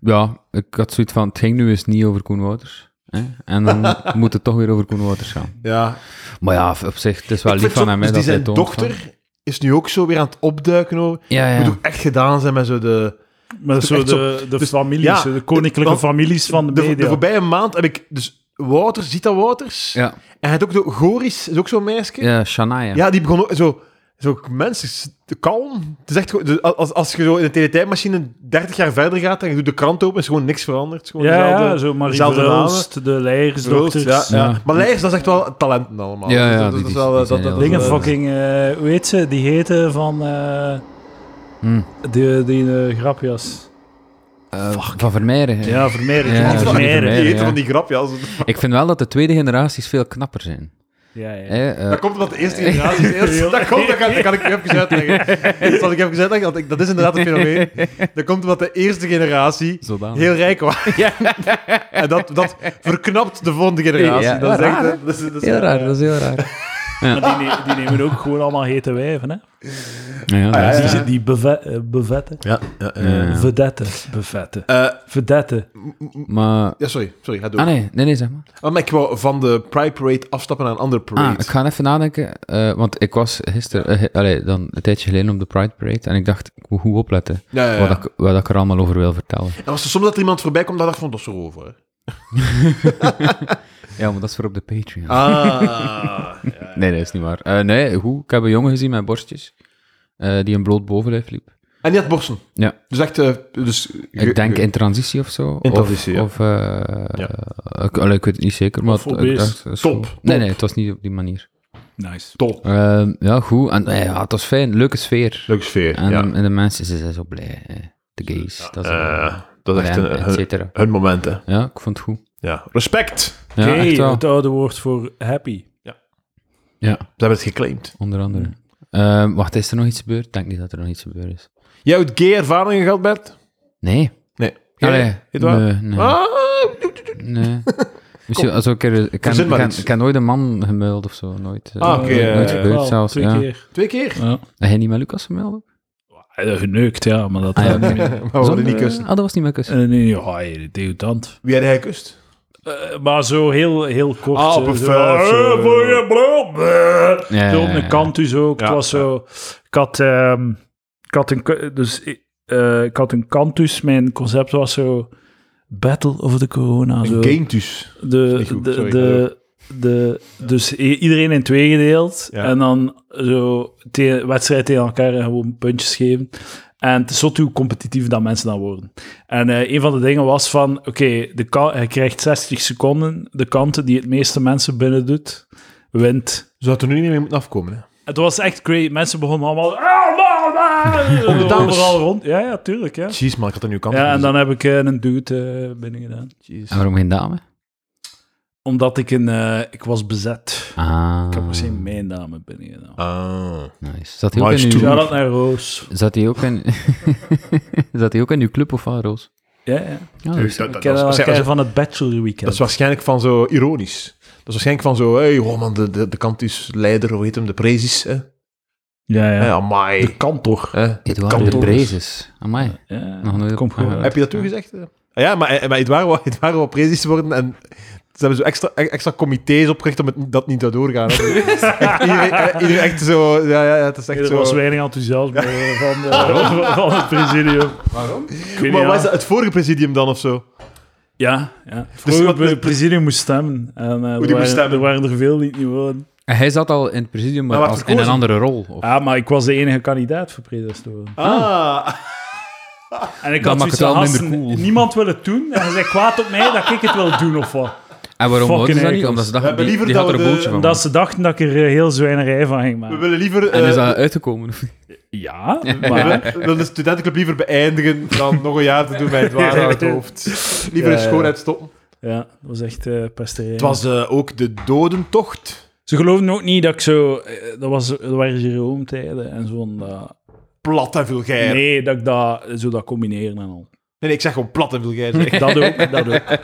S4: Ja, ik had zoiets van, het ging nu eens niet over Koen Wouters. Hè? En dan moet het toch weer over Koen Wouters gaan.
S3: Ja.
S4: Maar ja, op zich, het is wel
S3: Ik
S4: lief
S3: vind
S4: van
S3: zo-
S4: hem. hè,
S3: dus die
S4: dat
S3: zijn
S4: hij toont van-
S3: dochter is nu ook zo weer aan het opduiken. Hoor.
S4: Ja, ja.
S3: Moet ook echt gedaan zijn met zo de...
S1: Maar
S3: is
S1: zo
S3: echt zo-
S1: de, de
S3: dus-
S1: families,
S3: ja,
S1: de koninklijke
S3: want-
S1: families van de,
S3: De,
S1: media.
S3: de voorbije maand heb ik... Dus Wouters, ziet dat Wouters?
S4: Ja,
S3: En hij had ook de Goris, is ook zo'n meisje.
S4: ja Shania.
S3: Ja, die begon ook zo... Zo, mensen, s- kalm. Het is echt gewoon... dus Als, als je zo in de teletijdmachine 30 jaar verder gaat en je doet de krant open, is gewoon niks veranderd. Het is gewoon
S1: ja,
S3: dezelfde,
S1: ja, zo Marie
S3: dezelfde
S1: Verhulst, de
S3: namen.
S1: leidersdochters.
S3: Verhulst, ja, ja.
S4: Ja.
S3: Maar Leijers, dat is echt wel talenten allemaal.
S4: Ja, ja,
S3: dat,
S4: die-
S3: dat is
S4: die-
S3: wel...
S4: die
S3: Dat,
S4: zijn
S3: dat, dat,
S4: heel
S1: Dingen
S4: Ja.
S1: fucking, eh, hoe heet ze? Die heten van eh
S4: Hm.
S1: die, die eh, grapjas.
S4: Eh, van Vermeijeren. hè.
S1: Ja, Vermeer.
S4: Ja,
S1: Ja,
S4: Vermeer,
S1: Vermeer.
S3: Die
S4: Vermeer.
S1: Ja,
S3: eten
S4: ja.
S3: van die grap, ja.
S4: Ik vind wel dat de tweede generaties veel knapper zijn.
S1: ja, ja.
S4: Hè, eh,
S3: Dat komt omdat de eerste generatie is eerst.
S1: Heel-
S3: Dat komt, dat kan, dat kan ik u even uitleggen. Dat zal ik even uitleggen, want ik, dat is inderdaad een fenomeen. Dat komt omdat de eerste generatie
S4: zodanig.
S3: heel rijk was. En dat, dat verknapt de volgende generatie.
S4: Ja,
S3: dat is echt... eh,
S4: raar,
S3: dat is- dat is-
S4: Heel raar, dat is heel raar.
S1: Maar die, ne- die nemen ook gewoon allemaal hete wijven, hè?
S4: Ja,
S3: Ah,
S4: ja, dat is-
S1: Die, die beve- eh, bevetten.
S3: Ja, ja, ja.
S4: Ja, ja.
S1: Vedetten. Bevetten.
S3: Eh,
S1: Vedetten.
S4: Maar...
S3: ja, sorry, sorry, ga door.
S4: Ah nee, nee, nee, zeg maar.
S3: Oh, maar ik wou van de Pride Parade afstappen naar een andere
S4: Ah,
S3: parade.
S4: ik ga even nadenken, eh, want ik was gisteren, eh, he- allee, dan een tijdje geleden op de Pride Parade, en ik dacht, ik moet goed opletten
S3: ja, ja, ja.
S4: wat, ik, wat ik er allemaal over wil vertellen.
S3: En was er soms dat er iemand voorbij komt, dat dacht ik van, dat is erover. hè.
S4: Ja, maar dat is voor op de Patreon.
S3: Ah, ja, ja.
S4: Nee, dat is niet waar. Eh, nee, hoe? Ik heb een jongen gezien met borstjes. Eh, eh, die een bloot bovenlijf liep.
S3: En die had borsten.
S4: Ja.
S3: Dus echt... eh, dus, ge-
S4: Ik denk
S3: ge-
S4: in transitie of zo.
S3: In transitie, ja.
S4: Of, eh, ik, allee, ik weet het niet zeker, maar...
S1: Of
S4: het-
S1: obese.
S4: het- het-
S3: Top,
S4: Nee,
S3: top.
S4: nee, het was niet op die manier.
S1: Nice.
S3: Top.
S4: Ehm, ja, goed. En, eh, ja, het was fijn. Leuke sfeer.
S3: Leuke sfeer,
S4: En,
S3: ja.
S4: en de mensen ze zijn zo blij. eh. De gays. dat is,
S3: Eh, dat is echt
S4: en,
S3: een,
S4: et
S3: hun,
S4: cetera.
S3: hun moment, hè.
S4: Ja, ik vond het goed.
S3: Ja. Respect.
S4: Ja,
S1: Gay,
S4: echt wel.
S1: het oude woord voor happy.
S3: Ze hebben het geclaimd.
S4: Onder andere. Ehm, wacht, is er nog iets gebeurd? Ik denk niet dat er nog iets gebeurd is.
S3: Jij hebt gay ervaringen gehad, Bert?
S4: Nee.
S3: Nee.
S4: Allee,
S3: het waar?
S4: nee, nee.
S3: Ah,
S4: nee. Misschien als ik er... Ik kan,
S3: Verzin
S4: ik
S3: maar
S4: kan,
S3: iets.
S4: ik kan nooit een man gemeld of zo. Nooit. eh,
S3: Ah, oké,
S4: nooit-
S3: eh,
S4: nooit gebeurd
S1: Wel,
S4: zelfs.
S1: twee
S4: Ja.
S1: keer.
S3: twee keer.
S1: Ja.
S4: Heb je niet met Lucas gemeld? ook?
S1: Eh, Geneukt, ja, maar dat...
S4: Ah, ja,
S1: eh,
S4: oké.
S3: maar we hadden Oh, niet
S4: Zonder-
S3: kussen.
S4: Ah, dat was niet met kussen.
S1: eh, nee, ja, eh, deodorant.
S3: Wie had hij gekust?
S1: Eh, maar zo heel, heel kort.
S3: Ah, op
S1: eh,
S3: een
S1: zo,
S3: vuil of zo.
S1: eh, voor je brood, eh.
S4: Ja,
S1: Zo
S4: ja,
S1: op
S4: ja,
S1: een
S4: ja.
S1: kantus ook.
S3: Ja,
S1: het was
S3: ja.
S1: zo... Ik had, ehm, ik had een... k- Dus, ik- eh, ik had een kantus. Mijn concept was zo... Battle of the Corona. Zo.
S3: Een gametus.
S1: De,
S3: Niet goed,
S1: de,
S3: sorry.
S1: de, de, dus i- iedereen in twee gedeeld.
S3: Ja.
S1: En dan zo te, wedstrijd tegen elkaar en gewoon puntjes geven. En het is zot hoe competitief dat mensen dan worden. En eh, een van de dingen was van, oké, de ka- hij krijgt 60 seconden. De kant die het meeste mensen binnen doet, wint.
S3: Zou er nu niet meer moeten afkomen, hè?
S1: Het was echt great. Mensen begonnen allemaal... "Ah, man, ah!"
S3: Om de dames.
S1: Overal rond. Ja, ja, tuurlijk, ja.
S3: Jeez, man, ik had er nu kans
S1: Ja, en
S3: gemist.
S1: dan heb ik eh, een dude eh, binnen gedaan.
S4: En waarom geen dame?
S1: Omdat ik een... eh, ik was bezet.
S4: Ah.
S1: Ik heb per se mijn dame binnengedaan.
S3: Ah.
S4: Nice. Zat hij ook
S3: Nice
S4: in uw...
S1: Shout out naar Roos.
S4: Zat hij ook in... Zat hij ook in uw club of wat, Roos?
S1: Ja, ja.
S4: Ja,
S3: Tuurlijk,
S4: dus-
S3: dat-
S1: Ik
S3: dat-
S1: ken
S3: dat-
S1: haar
S3: dat-
S1: elkaar
S3: dat-
S1: van het Bachelor Weekend.
S3: Dat is waarschijnlijk van zo ironisch. Dat is waarschijnlijk van zo, hey, oh man, de, de, de kantus leider, hoe heet hem, de prezis, hè?
S1: Ja, ja.
S3: Ja, amai.
S1: Dat kan toch?
S3: Hè?
S4: Edouard de
S3: Kantoor.
S4: Brezes. Amai.
S1: Ja.
S4: Nog nooit op-
S1: Kom gewoon.
S4: Ah,
S3: Heb je dat toegezegd? Ja, maar, eh, maar Edouard wou, Edouard wou prezis worden en ze hebben zo extra, extra comité's opgericht om het, dat niet te doorgaan. hè. echt, iedereen, eh, iedereen echt zo, ja, ja, ja, het is echt
S1: Er
S3: zo.
S1: was weinig enthousiasme eh, van, de, van het presidium. Waarom?
S3: Maar was dat het vorige presidium dan of zo?
S1: Ja, ja.
S3: Dus
S1: Vroeger
S3: wat-
S1: dus het presidium moest stemmen. En, eh, er,
S3: moest
S1: waren,
S3: stemmen.
S1: er waren er veel die het niet wilden.
S4: En Hij zat al in het presidium, maar
S3: Hij werd
S4: als- in een
S3: verkozen.
S4: andere rol. Of...
S1: Ja, Ah, maar ik was de enige kandidaat voor president te worden.
S3: Ah,
S1: En ik
S4: Dat
S1: had
S4: maakt
S1: zoiets
S4: het wel
S1: van,
S4: minder
S1: "Gasten,
S4: cool."
S1: Niemand wil het doen. En ze zijn kwaad op mij dat ik het wil doen of wat.
S4: En
S1: Fucking
S4: waarom wouden ze dat niet?
S1: ergens.
S4: Omdat ze dachten,
S3: hebben
S4: die,
S3: liever
S4: die had er
S3: dat we de-
S4: een boeltje van.
S1: Omdat ze dachten dat ik er eh, heel zwijnerij van ging
S3: we
S1: maken.
S3: willen liever...
S4: En
S3: eh,
S4: is dat uitgekomen? of niet?
S1: Ja, maar...
S3: we willen de studentenclub liever beëindigen dan nog een jaar te doen bij Edouard uit het hoofd. Liever
S1: Ja,
S3: in
S1: ja.
S3: schoonheid stoppen.
S1: Ja, dat was echt eh pesterij.
S3: Het was eh, ook de dodentocht.
S1: Ze geloofden ook niet dat ik zo... eh, Dat, was, dat waren Jeroen-tijden en zo'n... dat-
S3: Plat en vulgair. Nee.
S1: nee, dat ik dat zo dat combineren en al.
S3: nee, ik zeg gewoon plat en vulgair. zeg.
S1: Dat ook, dat ook.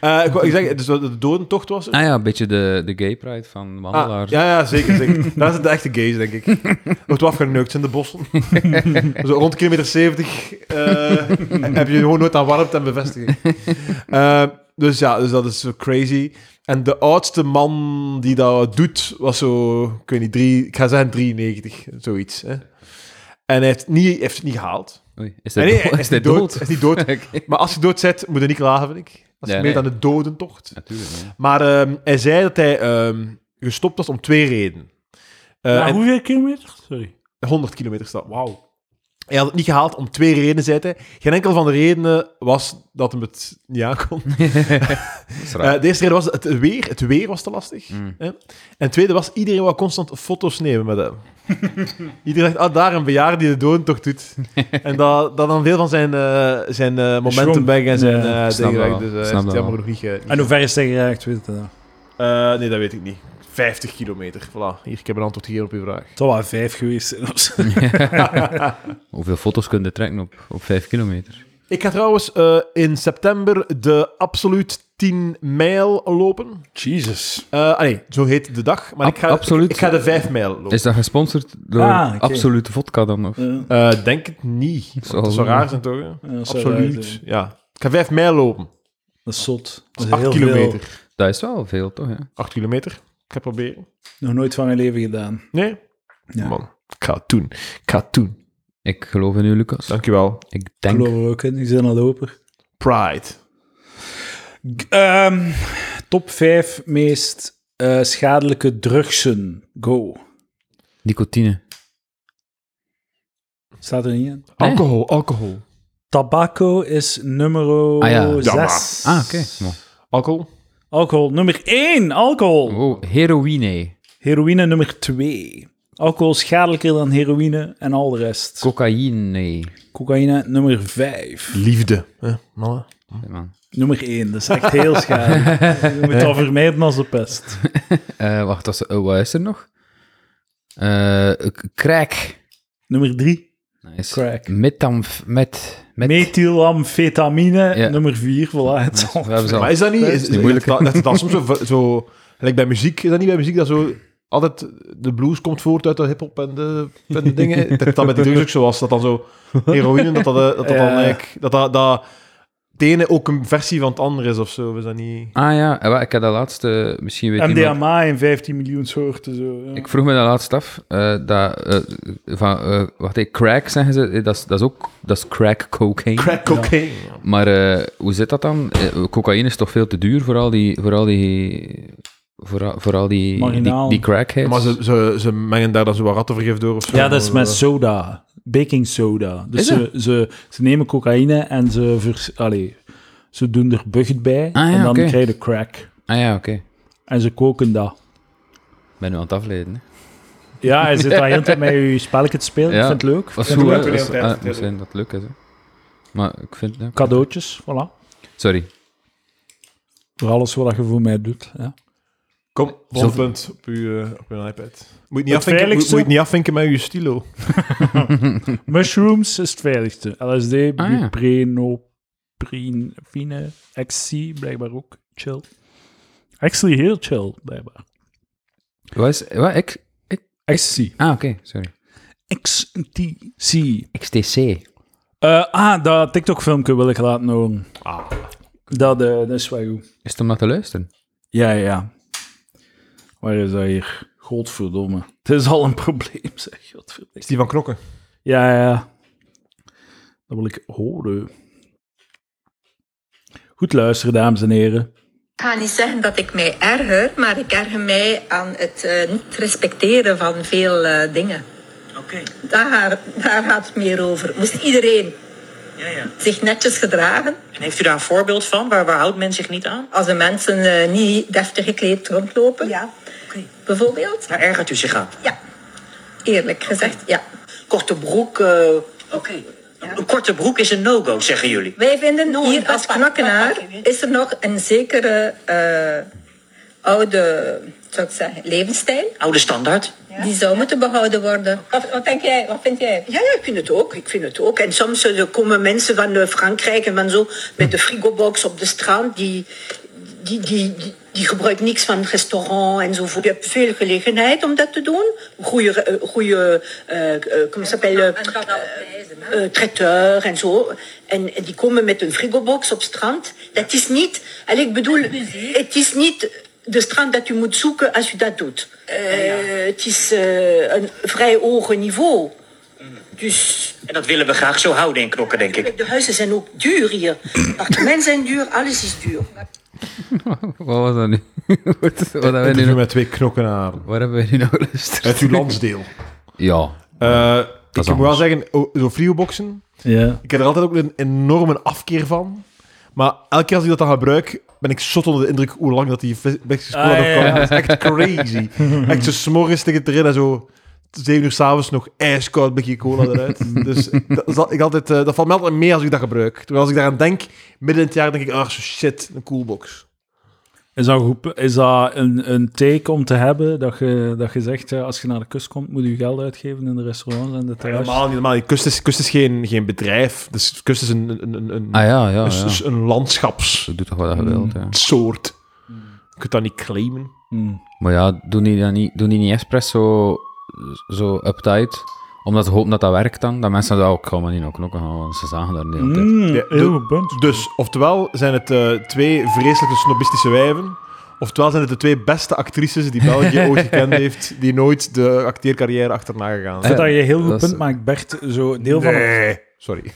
S3: Eh, ik, wou- ik zeg, dus wat de dodentocht was. er?
S4: Ah ja, een beetje de, de gay pride van
S3: Ah,
S4: wandelaars.
S3: ja, ja, zeker, zeker. Daar zijn de echte gays, denk ik. Wordt wel afgeneukt in de bossen. Zo rond kilometer 70 eh, heb je gewoon nooit aan warmte en bevestiging. Eh, dus ja, dus dat is zo crazy. En de oudste man die dat doet, was zo, ik weet niet, drie, ik ga zeggen 93, zoiets. Hè. En hij heeft, niet, hij heeft het niet gehaald.
S4: Oei, is
S3: Nee,
S4: hij
S3: nee,
S4: dood?
S3: hij is niet dood. Hij is niet dood.
S4: Oké.
S3: Maar als je dood bent, moet je niet klagen, vind ik. Als je
S4: Ja,
S3: meedoet
S4: nee.
S3: aan de dodentocht.
S4: Natuurlijk. ja.
S3: Maar ehm, hij zei dat hij ehm, gestopt was om twee redenen. Eh,
S1: Maar
S3: en
S1: hoeveel kilometer? Sorry.
S3: 100 kilometer stap. Wauw. Hij had het niet gehaald om twee redenen, zei hij. Geen enkel van de redenen was dat hem het niet aankon.
S4: Dat is raar.
S3: Eh de eerste reden was het weer. Het weer was te lastig.
S4: Mm.
S3: Hè? En het tweede was, iedereen wou constant foto's nemen met hem. iedereen dacht, ah, daar een bejaarde die de dodentocht doet. en dat, dat dan veel van zijn, eh, zijn eh, momentum
S1: Schwung.
S3: weg en zijn
S1: Ja,
S3: eh,
S4: ik snap
S3: dingen
S4: dat
S3: weg.
S4: wel.
S3: Dus eh,
S4: Ik
S3: hij
S4: snap
S3: heeft het
S4: dat
S3: jammer
S4: wel.
S3: nog niet, ge- niet
S1: En hoe ver is hij geraakt, weet je dat?
S3: eh, nee, dat weet ik niet. 50 kilometer. Voilà. Hier, ik heb een antwoord hier op uw vraag.
S1: Het zou wel vijf geweest zijn of zo.
S4: Hoeveel foto's kun je trekken op, op vijf kilometer?
S3: Ik ga trouwens eh, in september de absoluut 10 mijl lopen.
S1: Jesus.
S3: Eh, ah nee, zo heet de dag. Maar
S4: Ab-
S3: ik, ga,
S4: absoluut.
S3: ik, ik ga de 5 mijl lopen.
S4: Is dat gesponsord door
S1: Ah, oké.
S4: Absolute Vodka dan? Of?
S3: Eh, denk het niet. Want
S4: Zal
S3: Dat zou
S4: wel.
S3: raar zijn, toch? hè? Absoluut. Ja. Ik ga 5 mijl lopen.
S1: Dat is zot. Dat
S3: Dat
S1: is
S3: is 8
S1: heel
S3: kilometer.
S1: veel.
S4: Dat is wel veel, toch? Ja?
S3: 8 kilometer. Ik ga proberen.
S1: Nog nooit van mijn leven gedaan.
S3: Nee?
S1: Ja.
S3: Man, ik ga het doen. Ik ga het doen.
S4: Ik geloof in u, Lucas.
S3: Dankjewel.
S4: Ik
S1: Ik
S4: denk...
S1: geloof er ook in. Die zijn al loper.
S3: Pride.
S1: G- ehm, top 5 meest eh, schadelijke drugsen. Go.
S4: Nicotine.
S1: Staat er niet in.
S4: Nee.
S3: Alcohol, alcohol.
S1: Tabacco is nummer
S4: Ah, ja.
S1: 6.
S4: Ah, oké. Mo.
S3: Alcohol?
S1: Alcohol nummer 1. Alcohol.
S3: Oh.
S4: Wow, Oh, heroïne,
S1: Heroïne nummer 2. Alcohol is schadelijker dan heroïne en al de rest.
S4: cocaïne.
S1: Cocaïne nummer 5.
S3: Liefde. Eh, mannen.
S4: Ja, man.
S1: Nummer 1, dat is echt heel schadelijk. Je moet dat vermijden als de pest.
S4: Eh, wacht, dat is, eh, wat is er nog? Eh, k- crack.
S1: Nummer 3.
S4: Nice.
S1: Crack.
S4: Metamf... Met... Met...
S1: Methylamfetamine
S4: Ja.
S1: nummer 4. Voilà, het
S4: We
S1: zal.
S4: hebben ze al.
S3: Maar is dat niet...
S1: dat
S3: Is,
S1: is
S3: is-
S4: moeilijk,
S3: Dat, dat, dat soms zo... zo gelijk bij muziek, is dat niet bij muziek dat zo... Altijd de blues komt voort uit de hip-hop en de, en de dingen. Dat dat met die drugs ook zo was. Dat dan zo heroïne, dat dat, eh, dat, dat dan
S1: Ja.
S3: eigenlijk... Dat, dat, dat het ene ook een versie van het andere is of zo. Is dat niet...
S4: Ah ja, eh, wel, ik had dat laatste... Misschien weet iemand-
S1: MDMA in 15 miljoen soorten. Zo, ja.
S4: Ik vroeg me dat laatst af. eh, dat, eh, van, eh, wacht, hey, crack zeggen ze. eh, Dat is, dat is ook dat is crack cocaine.
S3: Crack cocaine.
S4: Maar eh, hoe zit dat dan? Eh, cocaïne is toch veel te duur voor al die... Voor al die voor, al- voor al die, die,
S1: Marginaal.
S4: die crackheads.
S3: Maar ze, ze, ze mengen daar dan zo wat rattenvergif door of zo.
S1: Ja, dat is met soda. Baking soda. Dus
S4: Is
S1: ze, ze, ze nemen cocaïne en ze, vers, allee, ze doen er bucht bij.
S4: Ah, ja,
S1: en dan
S4: oké.
S1: krijg je crack.
S4: Ah ja, oké.
S1: En ze koken dat.
S4: Ik ben nu aan het afleiden. hè.
S1: Ja, hij zit daar heel de tijd met je spelletje te spelen.
S4: Ja.
S1: Ik vind het leuk.
S4: Was
S1: Ik
S4: goed,
S1: vind het
S4: hè?
S1: leuk.
S4: Was- ah, het moet zijn dat het leuk is. hè. Maar ik vind... ja.
S1: Cadeautjes, voilà.
S4: Sorry.
S1: Voor alles wat je voor mij doet. Ja.
S3: Kom,
S4: Zo-
S3: volgend punt op uw, eh, op uw iPad. Moet je niet,
S1: Het
S3: afvinken, moet,
S1: veiligste-
S3: moet je niet afvinken met je stilo.
S1: Mushrooms is het veiligste. LSD,
S4: Ah, ja.
S1: buprenorphine, XC, blijkbaar ook. Chill. Actually heel chill, blijkbaar.
S4: Wat is... Wat? Ik,
S1: XC.
S4: ah, oké. Sorry.
S1: XTC.
S4: XTC.
S1: Eh, ah, dat TikTok-filmpje wil ik laten horen. Dat, eh, dat is wel goed.
S4: Is het om naar te luisteren?
S1: Ja, ja, ja. Waar is dat hier? Godverdomme. Het is al een probleem, zeg. Godverdomme.
S3: Is die van knokken?
S1: Ja, ja, ja. Dat wil ik horen. Goed luisteren, dames en heren.
S9: Ik ga niet zeggen dat ik mij erger, maar ik erger mij aan het eh, niet respecteren van veel eh, dingen.
S10: Oké,
S9: Daar, daar gaat het meer over. Moest iedereen
S10: ja, ja.
S9: zich netjes gedragen?
S10: En heeft u daar een voorbeeld van? Waar, waar houdt men zich niet aan?
S9: Als de mensen eh, niet deftig gekleed rondlopen? Ja.
S10: Oké.
S9: Bijvoorbeeld?
S10: Daar ergert u zich aan.
S9: Ja. Eerlijk gezegd, ja.
S10: Korte broek. eh, Oké. Een korte broek is een no-go, zeggen jullie.
S9: Wij vinden hier
S10: dat
S9: als
S10: pak-
S9: knokkenaar
S10: dat pak ik niet.
S9: is er nog een zekere eh, oude, zou ik zeggen, levensstijl.
S10: Oude standaard.
S9: Die zou moeten behouden worden. Wat, wat denk jij? Wat vind jij?
S11: Ja, ja, ik vind het ook. Ik vind het ook. En soms eh, er komen mensen van eh, Frankrijk en van zo met de frigobox op de strand. Die, die, die, die, die gebruiken niks van het restaurant enzovoort. Je hebt veel gelegenheid om dat te doen. Goede, eh, goede eh eh, comment ça s'appelle, eh,
S9: En van alle wijzen, hè?
S11: eh, traiteur en zo. En, en die komen met een frigobox op strand. Dat is niet, allee, ik bedoel, het is niet de strand dat u moet zoeken als u dat doet. Eh, Het is eh, een vrij hoog niveau. Dus eh,
S10: En dat willen we graag zo houden in knokken, denk ik.
S11: de huizen zijn ook duur hier. Appartementen zijn duur, alles is duur.
S4: Wat was dat nu? Wat- wat hebben wij nu
S3: Interview
S4: nog-
S3: met twee knokkenaren.
S4: Waar hebben we nu nou geluisterd?
S3: Uit uw landsdeel.
S4: Ja.
S3: Eh, ik moet wel
S4: anders.
S3: zeggen, oh, zo'n frigoboxen,
S1: Ja.
S3: ik heb er altijd ook een enorme afkeer van. Maar elke keer als ik dat dan gebruik, ben ik zot onder de indruk hoe lang dat die blikjes cola
S1: Ah,
S3: nog
S1: ja,
S3: kan.
S1: ja.
S3: Dat is echt crazy. echt zo s'morgens tegen het erin en zo... Zeven uur s'avonds nog ijskoud blikje cola eruit. Dus dat, is al- ik altijd, eh, dat valt me altijd mee als ik dat gebruik. Terwijl als ik daaraan denk, midden in het jaar denk ik, ah, zo shit, een coolbox.
S1: Is dat, goed, is dat een, een take om te hebben dat je, dat je zegt, eh, als je naar de kust komt, moet je geld uitgeven in de restaurants en de terras?
S3: Normaal niet, normaal niet. Kust is, kust is geen, geen bedrijf. Dus kust is een, een, een, een,
S4: Ah ja, ja,
S3: een,
S4: ja.
S3: een landschapssoort.
S4: Je doet toch wat je wilt,
S3: Mm.
S4: ja.
S3: Je kunt dat niet claimen.
S1: Hmm.
S4: Maar ja, doen die, dat niet, doen die niet expres zo, zo uptight? Omdat ze hopen dat dat werkt dan? Dat mensen dat ook gewoon niet naar knokken gaan, want ze zagen daar niet op tijd.
S1: Mm,
S3: Ja,
S1: heel
S3: de-
S1: goed punt.
S3: Dus, oftewel zijn het eh, twee vreselijke snobistische wijven. Oftewel zijn het de twee beste actrices die België ooit gekend heeft, die nooit de acteercarrière achterna gegaan
S1: Ik
S3: zijn.
S1: vind dat je een heel goed
S4: dat
S1: punt
S4: is-
S1: maakt, Bert. Zo, deel, van een,
S3: Nee, sorry.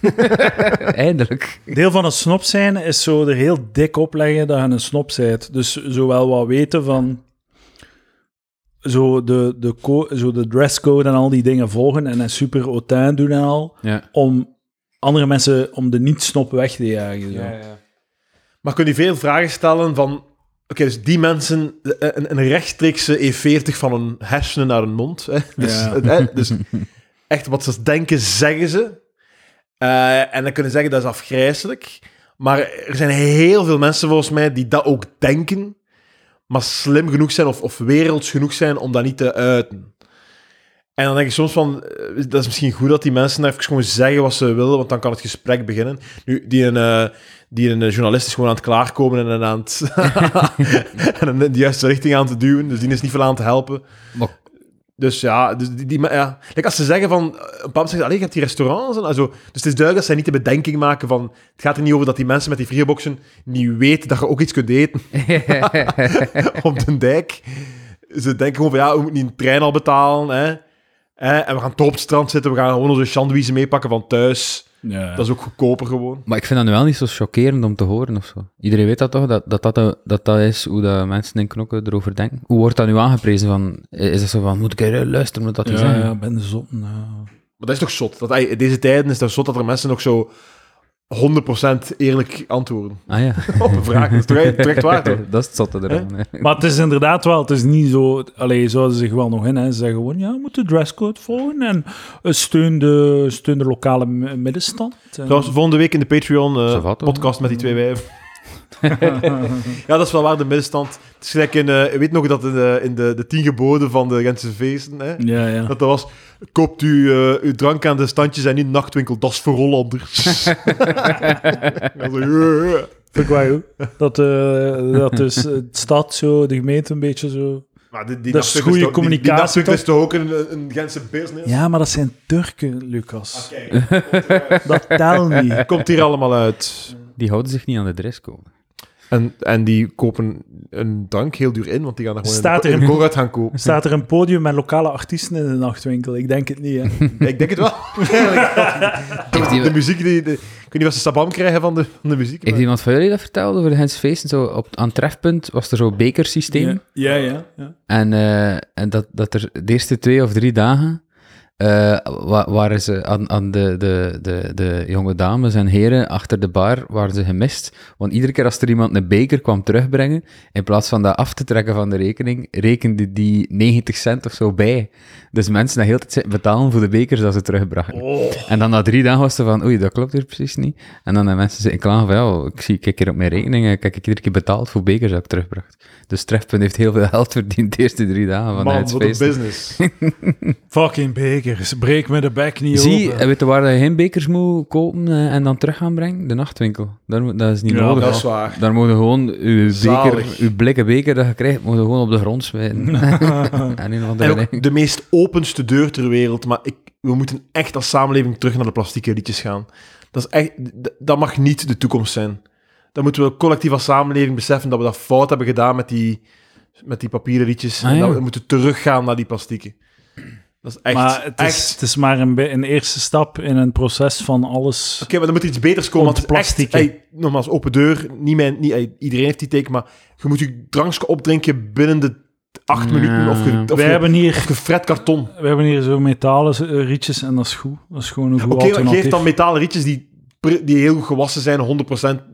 S4: Eindelijk.
S1: deel van een snop zijn is zo er heel dik opleggen dat je een snop bent. Dus zowel wat weten van... zo de, de, co- zo de dresscode en al die dingen volgen en een super hautain doen en al,
S4: Ja.
S1: om andere mensen, om de niet-snop weg te jagen. Zo.
S3: Maar kun je veel vragen stellen van... Oké, dus die mensen... Een, een rechtstreekse E40 van een hersenen naar een mond. Hè? Dus,
S1: Ja.
S3: hè, dus echt wat ze denken, zeggen ze. Eh, en dan kunnen ze zeggen, dat is afgrijzelijk. Maar er zijn heel veel mensen volgens mij die dat ook denken. Maar slim genoeg zijn of, of werelds genoeg zijn om dat niet te uiten. En dan denk ik soms van, eh, dat is misschien goed dat die mensen even gewoon zeggen wat ze willen, want dan kan het gesprek beginnen. Nu, die een, eh, die een journalist is gewoon aan het klaarkomen en aan het, en hem in de juiste richting aan te duwen. Dus die is niet veel aan te helpen.
S4: Maar-
S3: Dus ja, dus die, die, ja. Like als ze zeggen van, eh, een bepaald moment zegt, "Allee, je hebt die restaurants en zo. Dus het is duidelijk dat zij niet de bedenking maken van, het gaat er niet over dat die mensen met die frigoboxen niet weten dat je ook iets kunt eten op de dijk. Ze denken gewoon van, ja, we moeten niet een trein al betalen, hè. Hè, En we gaan toch op het strand zitten, we gaan gewoon onze sandwiches meepakken van thuis.
S1: Ja.
S3: Dat is ook goedkoper gewoon.
S4: Maar ik vind dat nu wel niet zo chockerend om te horen of zo. Iedereen weet dat toch, dat dat, dat, dat, dat is hoe de mensen in knokken erover denken. Hoe wordt dat nu aangeprezen? Van, is dat zo van, moet ik er luisteren moet dat te
S1: Ja,
S4: zeggen?
S1: ja, ben nou. de zon. ja.
S3: Maar dat is toch zot? Dat, ey, in deze tijden is het zot dat er mensen nog zo 100% eerlijk antwoorden
S4: Ah ja,
S3: op een vraag. Dat is toch ey, terecht waar, toch?
S4: dat is het zotte eraan. hè.
S1: Maar het is inderdaad wel, het is niet zo... Allee, zouden ze zich wel nog in, hè. Ze zeggen gewoon, ja, we moeten de dresscode volgen en eh, steun de, steun de lokale mi- middenstand. En-
S3: Trouwens, volgende week in de Patreon eh,
S4: Ça va, toch?
S3: podcast met die twee wijven. ja, dat is wel waar, de middenstand. Het is gelijk in, eh, weet nog dat in, de- in de, de tien geboden van de Gentse feesten, hè,
S1: ja, ja.
S3: dat dat was, koopt u eh, uw drank aan de standjes en niet nachtwinkel, dat is voor Hollanders. Ja, zo, ja, ja.
S1: Vind ik wel goed. Dat, eh, dat dus de stad zo, de gemeente een beetje zo...
S3: Maar die, die
S1: Dat is
S3: nachtwinkel
S1: goede
S3: toch- die-
S1: communicatie,
S3: Die nachtwinkel is
S1: toch?
S3: toch ook een, een Gentse business?
S1: Ja, maar dat zijn Turken, Lucas.
S3: Kijk,
S1: Dat telt niet.
S3: komt hier allemaal uit.
S4: Die houden zich niet aan de dresscode.
S3: En, en die kopen een drank heel duur in, want die gaan er gewoon
S1: Staat
S3: een,
S1: er
S3: een
S1: een-
S3: vooruit gaan kopen.
S1: Staat er een podium met lokale artiesten in de nachtwinkel? Ik denk het niet, hè.
S3: ik denk het wel.
S4: Heeft,
S3: De
S4: iemand,
S3: muziek die... De, ik weet niet wat ze sabam krijgen van de, van de muziek.
S4: heeft
S3: maar-
S4: iemand van jullie dat verteld over de Gens Feesten? Zo op, aan het trefpunt was er zo'n bekersysteem.
S1: Ja, ja, ja.
S4: En, eh, en dat, dat er de eerste twee of drie dagen eh, wa- waren ze aan, aan de, de, de, de jonge dames en heren achter de bar waren ze gemist. Want iedere keer als er iemand een beker kwam terugbrengen, in plaats van dat af te trekken van de rekening, rekende die 90 cent of zo bij. Dus mensen dat heel de tijd zitten betalen voor de bekers dat ze terugbrachten.
S3: Oh.
S4: En dan na drie dagen was ze van, oei, dat klopt hier precies niet. En dan de mensen zitten klagen van, ja, ik zie, kijk hier op mijn rekening, eh, kijk, ik iedere keer betaald voor bekers dat ik terugbracht. Dus Trefpunt heeft heel veel geld verdiend de eerste drie dagen van
S3: Man,
S4: het
S3: wat een
S4: feest.
S3: business.
S1: Fucking bekers. Breek me de bek niet
S4: Zie,
S1: open.
S4: en weet je waar dat je geen bekers moet kopen eh, en dan terug gaan brengen? De nachtwinkel. Daar, moet- dat is niet
S1: Ja,
S4: nodig.
S3: dat is waar.
S4: Daar mogen gewoon uw,
S3: Zalig.
S4: beker, uw blikken beker dat je krijgt, mogen gewoon op de grond smijten. en een of
S3: En
S4: andere ding.
S3: ook de meest openste deur ter wereld. Maar ik, we moeten echt als samenleving terug naar de plastieke liedjes gaan. Dat, is echt, d- dat mag niet de toekomst zijn. Dan moeten we collectief als samenleving beseffen dat we dat fout hebben gedaan met die, met die papieren liedjes.
S4: Ah,
S3: en dat
S4: ja.
S3: we moeten teruggaan naar die plastieke. Dat is echt...
S1: maar het is,
S3: echt
S1: het is maar een, be- een eerste stap in een proces van alles.
S3: Oké, maar er moet iets beters komen. Want het is echt,
S1: Ontplastieken.
S3: ey, nogmaals, open deur. Niet mijn, niet, ey, iedereen heeft die teken, maar je moet je drankje opdrinken binnen de acht
S4: Ja.
S3: minuten. Of ge, of
S1: We
S3: ge-
S1: hebben, hier,
S3: of gefret karton.
S1: we hebben hier zo metalen eh, rietjes en dat is goed. Dat is gewoon een goed
S3: Oké, maar
S1: alternatief.
S3: geef dan metalen rietjes die, pr- die heel goed gewassen zijn,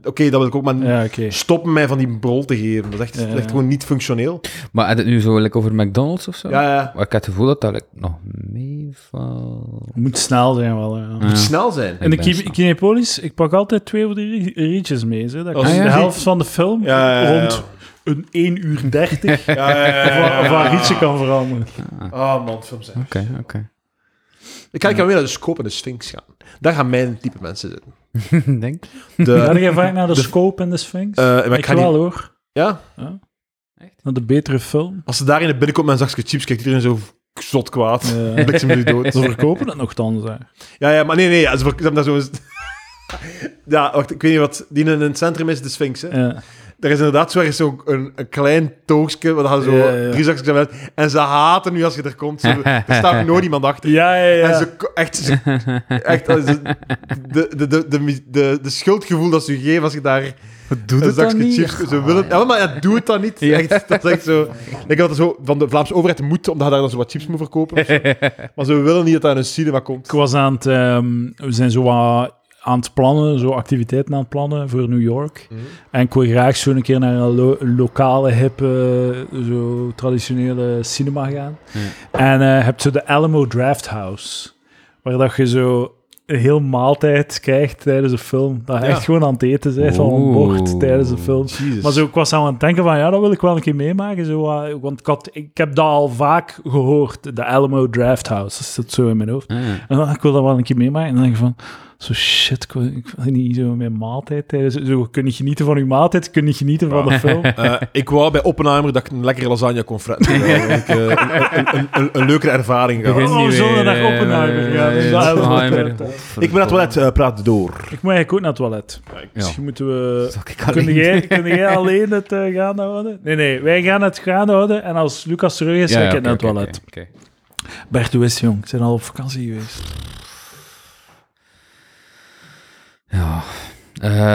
S3: 100%. Oké, dat wil ik ook, maar
S1: Ja, oké.
S3: stop met mij van die brol te geven. Dat is echt, dat is echt
S1: Ja.
S3: gewoon niet functioneel.
S4: Maar heb je het nu zo like, over McDonald's of zo?
S3: Ja, ja.
S4: Maar ik heb het gevoel dat dat like, nog meevalt.
S1: Het moet snel zijn wel. ja.
S4: Ja.
S3: Snel zijn.
S1: In de
S4: Ik ben
S1: ki-
S4: snel.
S1: Kinepolis, ik pak altijd twee of drie rie- rietjes mee. Zo. Dat
S3: Als
S1: is de
S4: je ziet-
S1: helft van de film
S3: Oh, Ja, ja, ja, ja.
S1: rond een 1 uur 30
S3: Ja, ja, ja, ja, ja.
S1: waar, waar rietje kan veranderen.
S3: Ah, man, film zijn.
S4: Oké, oké.
S3: Ik kan, ik kan weer naar de scope en de sphinx gaan. Daar gaan mijn type mensen zitten.
S4: Denk.
S1: Ga
S3: De,
S1: je vaak naar de, Scope en de Sphinx?
S3: eh, maar ik
S1: ik
S3: ga
S1: wel
S3: niet,
S1: hoor.
S3: ja,
S1: Naar de betere film.
S3: als ze daarin binnenkomt met een zakje chips, kijkt iedereen zo zot kwaad.
S1: Eh,
S3: Bliksem jullie dood.
S1: ze verkopen het nogthans. hè.
S3: Ja, ja, maar nee, nee, ja, ze ver- ze hebben daar zo'n... Ja, wacht, ik weet niet wat... Die in het centrum is, de Sphinx, hè?
S1: Ja.
S3: Er is inderdaad zo ergens zo'n een, een klein toogstje, wat hadden zo
S1: Ja, ja.
S3: drie zakjes aan het- En ze haten nu als je er komt. Ze, er staat nooit iemand achter.
S1: Ja, ja, ja.
S3: En ze, ko- echt, ze- echt eh, ze- de, de, de, de, mu- de, de schuldgevoel dat ze je geven als je daar Doe
S4: het dan niet?
S3: Ze willen, ja, maar ja, doe het dan niet. Echt, dat is echt zo. Ik denk dat het zo van de Vlaamse overheid moet, omdat daar dan zo wat chips moet verkopen. of zo. Maar ze willen niet dat dat in een cinema komt.
S1: Ik was aan het... ehm, we zijn zo wat aan het plannen, zo activiteiten aan het plannen voor New York. En ik wil graag zo een keer naar een lo- lokale, hippe, zo traditionele cinema gaan. En eh heb zo de Alamo Draft House, waar dat je zo een heel maaltijd krijgt tijdens een film. Dat je echt gewoon aan het eten bent van een bord
S4: Oeh.
S1: tijdens een film. Maar zo, ik was aan het denken van, ja, dat wil ik wel een keer meemaken. Zo, wat- want ik, had, ik heb dat al vaak gehoord, de Alamo Draft House. Dat zit zo in mijn hoofd.
S4: Ah, ja.
S1: En dan, ik wil dat wel een keer meemaken. En dan denk ik van, zo shit, ik wil, ik wil niet zo mijn maaltijd tijdens... Zo, kun je genieten van je maaltijd, kun je genieten van de film.
S3: Eh, ik wou bij Oppenheimer dat ik een lekkere lasagne kon fretten. Ja, dat ik, eh, een, een, een, een, een leukere ervaring gehad.
S4: Begin
S1: Oh,
S4: niet
S1: zullen we
S4: weer,
S1: naar
S4: eh,
S1: Oppenheimer gaan?
S4: eh,
S1: Dus dat hebben we
S4: Oppenheimer.
S1: wat, eh,
S3: Ik ben het toilet, eh, praat door.
S1: Ik moet eigenlijk ook naar het toilet. Misschien moeten we...
S4: Zal ik
S1: Kun
S4: alleen-
S1: jij, kun jij alleen het eh, gaande houden? Nee, nee, wij gaan het gaande houden. En als Lucas terug is,
S4: Ja,
S1: ga
S4: ja,
S1: ik
S4: oké,
S1: naar het
S4: oké,
S1: toilet.
S4: oké, oké.
S1: Bert, hoe is het, jong? Ik ben al op vakantie geweest.
S4: Ja.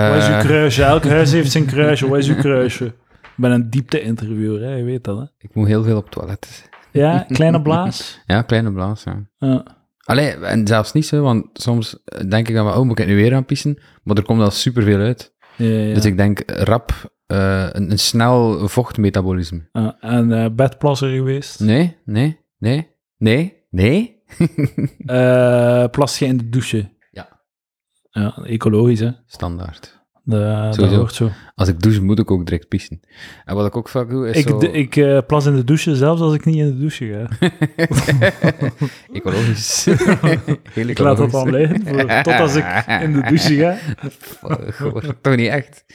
S1: Wat is uw
S4: Eh,
S1: kruisje? Elk huis heeft zijn kruisje. Wat is uw kruisje? Ik ben een diepte-interviewer, hè? je weet dat, hè?
S4: ik moet heel veel op het toilet.
S1: Ja, kleine blaas.
S4: Ja, kleine blaas, ja.
S1: Ja.
S4: Allee, en zelfs niet zo, want soms denk ik dan wel, oh, moet ik het nu weer aanpissen? Maar er komt al superveel uit.
S1: Ja, ja, ja.
S4: Dus ik denk rap, eh, een, een snel vochtmetabolisme.
S1: Ah, en eh, bedplasser geweest.
S4: Nee, nee, nee, nee, nee.
S1: Eh, plas je in de douche.
S4: Ja.
S1: Ja, ecologisch, hè.
S4: Standaard.
S1: Da- Dat,
S4: Sowieso.
S1: hoort zo.
S4: Als ik douche, moet ik ook direct pissen. En wat ik ook vaak doe, is
S1: Ik,
S4: zo...
S1: d- ik eh, plas in de douche, zelfs als ik niet in de douche ga.
S4: Ecologisch. Heel
S1: Ik laat dat dan
S4: ecologisch.
S1: liggen, voor- tot als ik in de douche ga.
S4: Goh, Toch niet echt.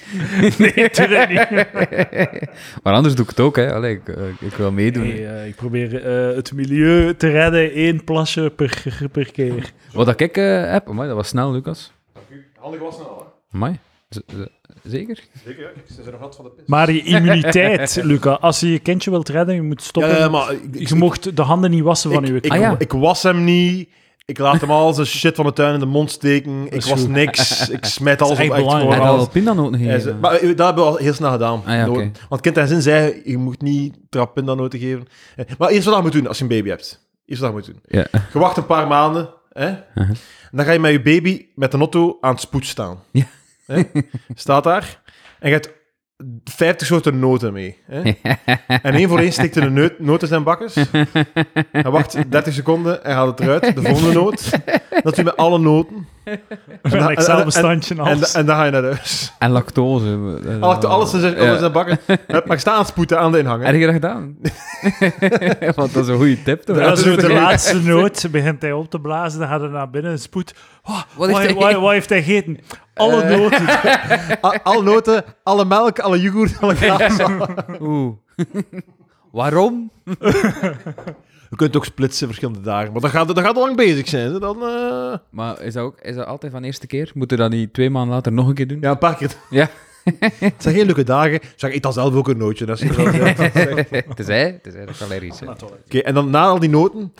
S1: Nee, tuurlijk niet.
S4: Maar anders doe ik het ook, hè. Allee, ik, eh, ik wil meedoen.
S1: Nee, eh, ik probeer eh, het milieu te redden, één plasje per, per keer.
S4: Wat dat ik eh, heb, amai, dat was snel, Lucas.
S3: Handig was nou, hè?
S4: Amai. Z- z- zeker?
S3: Zeker, ik zit er nog wat van de pis.
S1: Maar je immuniteit, Luca. Als je je kindje wilt redden, je moet
S3: Ja,
S1: stoppen.
S3: ja, maar ik,
S1: je mocht de handen niet wassen van
S3: ik,
S1: je
S3: ik,
S1: kind.
S4: Ah, ja.
S3: ik was hem niet. Ik laat hem al zijn shit van de tuin in de mond steken. Ik
S1: is
S3: was
S1: goed.
S3: niks. Ik smet alles op
S1: echt
S3: echt
S1: belangrijk.
S3: gewoon
S4: Heb je al
S3: alles.
S4: Pin dan ook nog
S3: Hij zei-
S4: gegeven?
S3: maar eh, dat hebben we al heel snel gedaan.
S4: Ah, ja,
S3: Door-
S4: oké.
S3: Want kind en zin zei, je moet niet trap in dat noten geven. Eh, Maar eerst wat je moet doen als je een baby hebt. Eerst wat je moet doen.
S4: Ja.
S3: Je wacht een paar maanden. Hè? En dan ga je met je baby met een auto aan het spoed staan.
S4: Ja.
S3: Hè? Staat daar. En je hebt 50 soorten noten mee. Hè? En één voor één stikt hij de neut- noot in zijn bakkers. Hij wacht 30 seconden en haalt het eruit. De volgende noot. Dat doet hij met alle noten.
S1: Met een
S3: en-
S1: Excel-bestandje en
S3: En,
S1: alles.
S3: en dan ga je naar huis.
S4: En lactose. eh,
S3: Hij wacht alles in zijn, alles in zijn bakken. Hup, Maar ik sta aan het spoeten aan de inhang. hè.
S4: Heb je dat gedaan? Want dat is een goede tip, toch?
S1: Dat is zo de laatste noot. Begint hij op te blazen, dan gaat hij naar binnen en spoed. Oh, wat,
S4: heeft
S1: heeft
S4: hij
S1: wat, wat heeft hij gegeten? Alle
S3: Eh.
S1: noten.
S3: A- Alle noten, alle melk, alle yoghurt, alle kaas.
S4: Oeh. Waarom?
S3: Je kunt ook splitsen verschillende dagen. Maar dan gaat, dan gaat lang bezig zijn. hè. Dan, eh,
S4: Maar is dat, ook, is dat altijd van eerste keer? Moeten we dat niet twee maanden later nog een keer doen?
S3: Ja, een paar keer.
S4: Ja.
S3: Het zijn geen leuke dagen. Zeg, ik dan zelf ook een nootje. Dat is wel- ja.
S4: Tenzij, tenzij dat ik allergisch ben.
S3: Oké, en dan na al die noten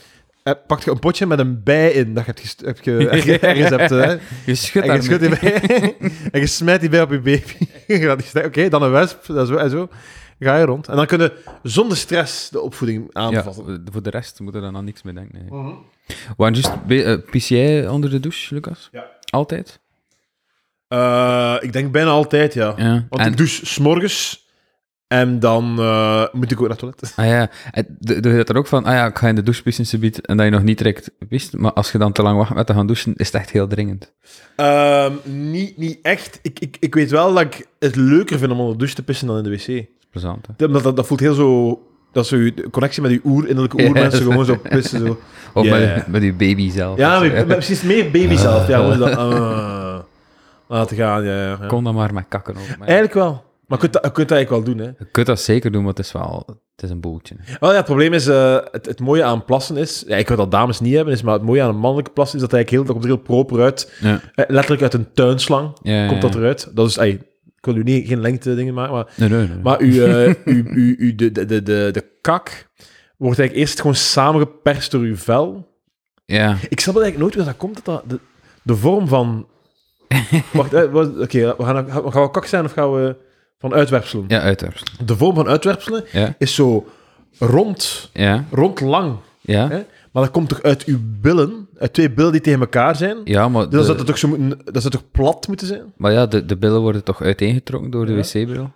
S3: eh, pak je een potje met een bij in. Dat je hebt gest- heb je ergens- ergens hebt, hè.
S4: Je schudt
S3: En je
S4: daarmee.
S3: schudt die bij. en je smijt die bij op je baby. Je laat die staan. Oké, dan een wesp. Dat zo, en zo. Ga je rond. En dan kunnen zonder stress de opvoeding
S4: Ja,
S3: aanvatten.
S4: voor de rest moeten we dan aan niks meer denken. Nee.
S3: Mhm.
S4: Waar juist, be- eh, pis jij onder de douche, Lucas?
S3: Ja.
S4: Altijd?
S3: Eh, ik denk bijna altijd, ja.
S4: Ja.
S3: Want
S4: en,
S3: ik douche s'morgens. En dan eh, moet ik ook naar het toilet.
S4: ah, ja. en d- doe je dat er ook van, ah ja, ik ga in de douche pissen, subiet, en dat je nog niet direct pist, maar als je dan te lang wacht met te gaan douchen, is het echt heel dringend.
S3: Ehm, niet, niet echt. Ik, ik, ik weet wel dat ik het leuker vind om onder de douche te pissen dan in de wc.
S4: Plezant, hè?
S3: Dat, dat, dat voelt heel zo... Dat is zo je connectie met je oer, innerlijke oer.
S4: Ja.
S3: Mensen gewoon zo pissen. Zo.
S4: Of
S3: Ja.
S4: met, met je baby zelf.
S3: Ja,
S4: Of zo,
S3: maar, maar precies meer baby zelf. Ja, hoe ze dat... ah, laten gaan, ja, ja, ja.
S4: Kon dat maar met kakken ook. Maar ja,
S3: Eigenlijk wel. Maar je kunt, dat- je kunt dat eigenlijk wel doen, hè.
S4: je kunt dat zeker doen, want het is wel... Het is een boeltje. hè.
S3: Wel, ja, het probleem is... eh, het, het mooie aan plassen is... Ja, ik wil dat dames niet hebben, is, maar het mooie aan een mannelijke plas is dat hij eigenlijk heel, dat komt er heel proper uit.
S4: Ja.
S3: Eh, letterlijk uit een tuinslang
S4: Ja, ja,
S3: komt dat
S4: ja.
S3: eruit. Dat is... ey, ik wil nu niet, geen lengte dingen maken, maar...
S4: Nee, nee, nee.
S3: Maar uw, eh, uw, uw, uw- de, de, de, de, de kak wordt eigenlijk eerst gewoon samengeperst door uw vel.
S4: Ja.
S3: Ik snap dat eigenlijk nooit waar dat komt. Dat dat de, de vorm van Wacht, eh, wat- oké, we gaan, gaan we kak zijn of gaan we van uitwerpselen?
S4: Ja, uiteraard.
S3: De vorm van uitwerpselen
S4: Ja,
S3: is zo rond,
S4: ja,
S3: rond lang.
S4: ja.
S3: Hè? Maar dat komt toch uit uw billen, uit twee billen die tegen elkaar zijn?
S4: Ja, maar,
S3: Dus dat
S4: de,
S3: zou dat toch, zo moeten, dat zou toch plat moeten zijn?
S4: maar ja, de, de billen worden toch uiteengetrokken door de wc-bril?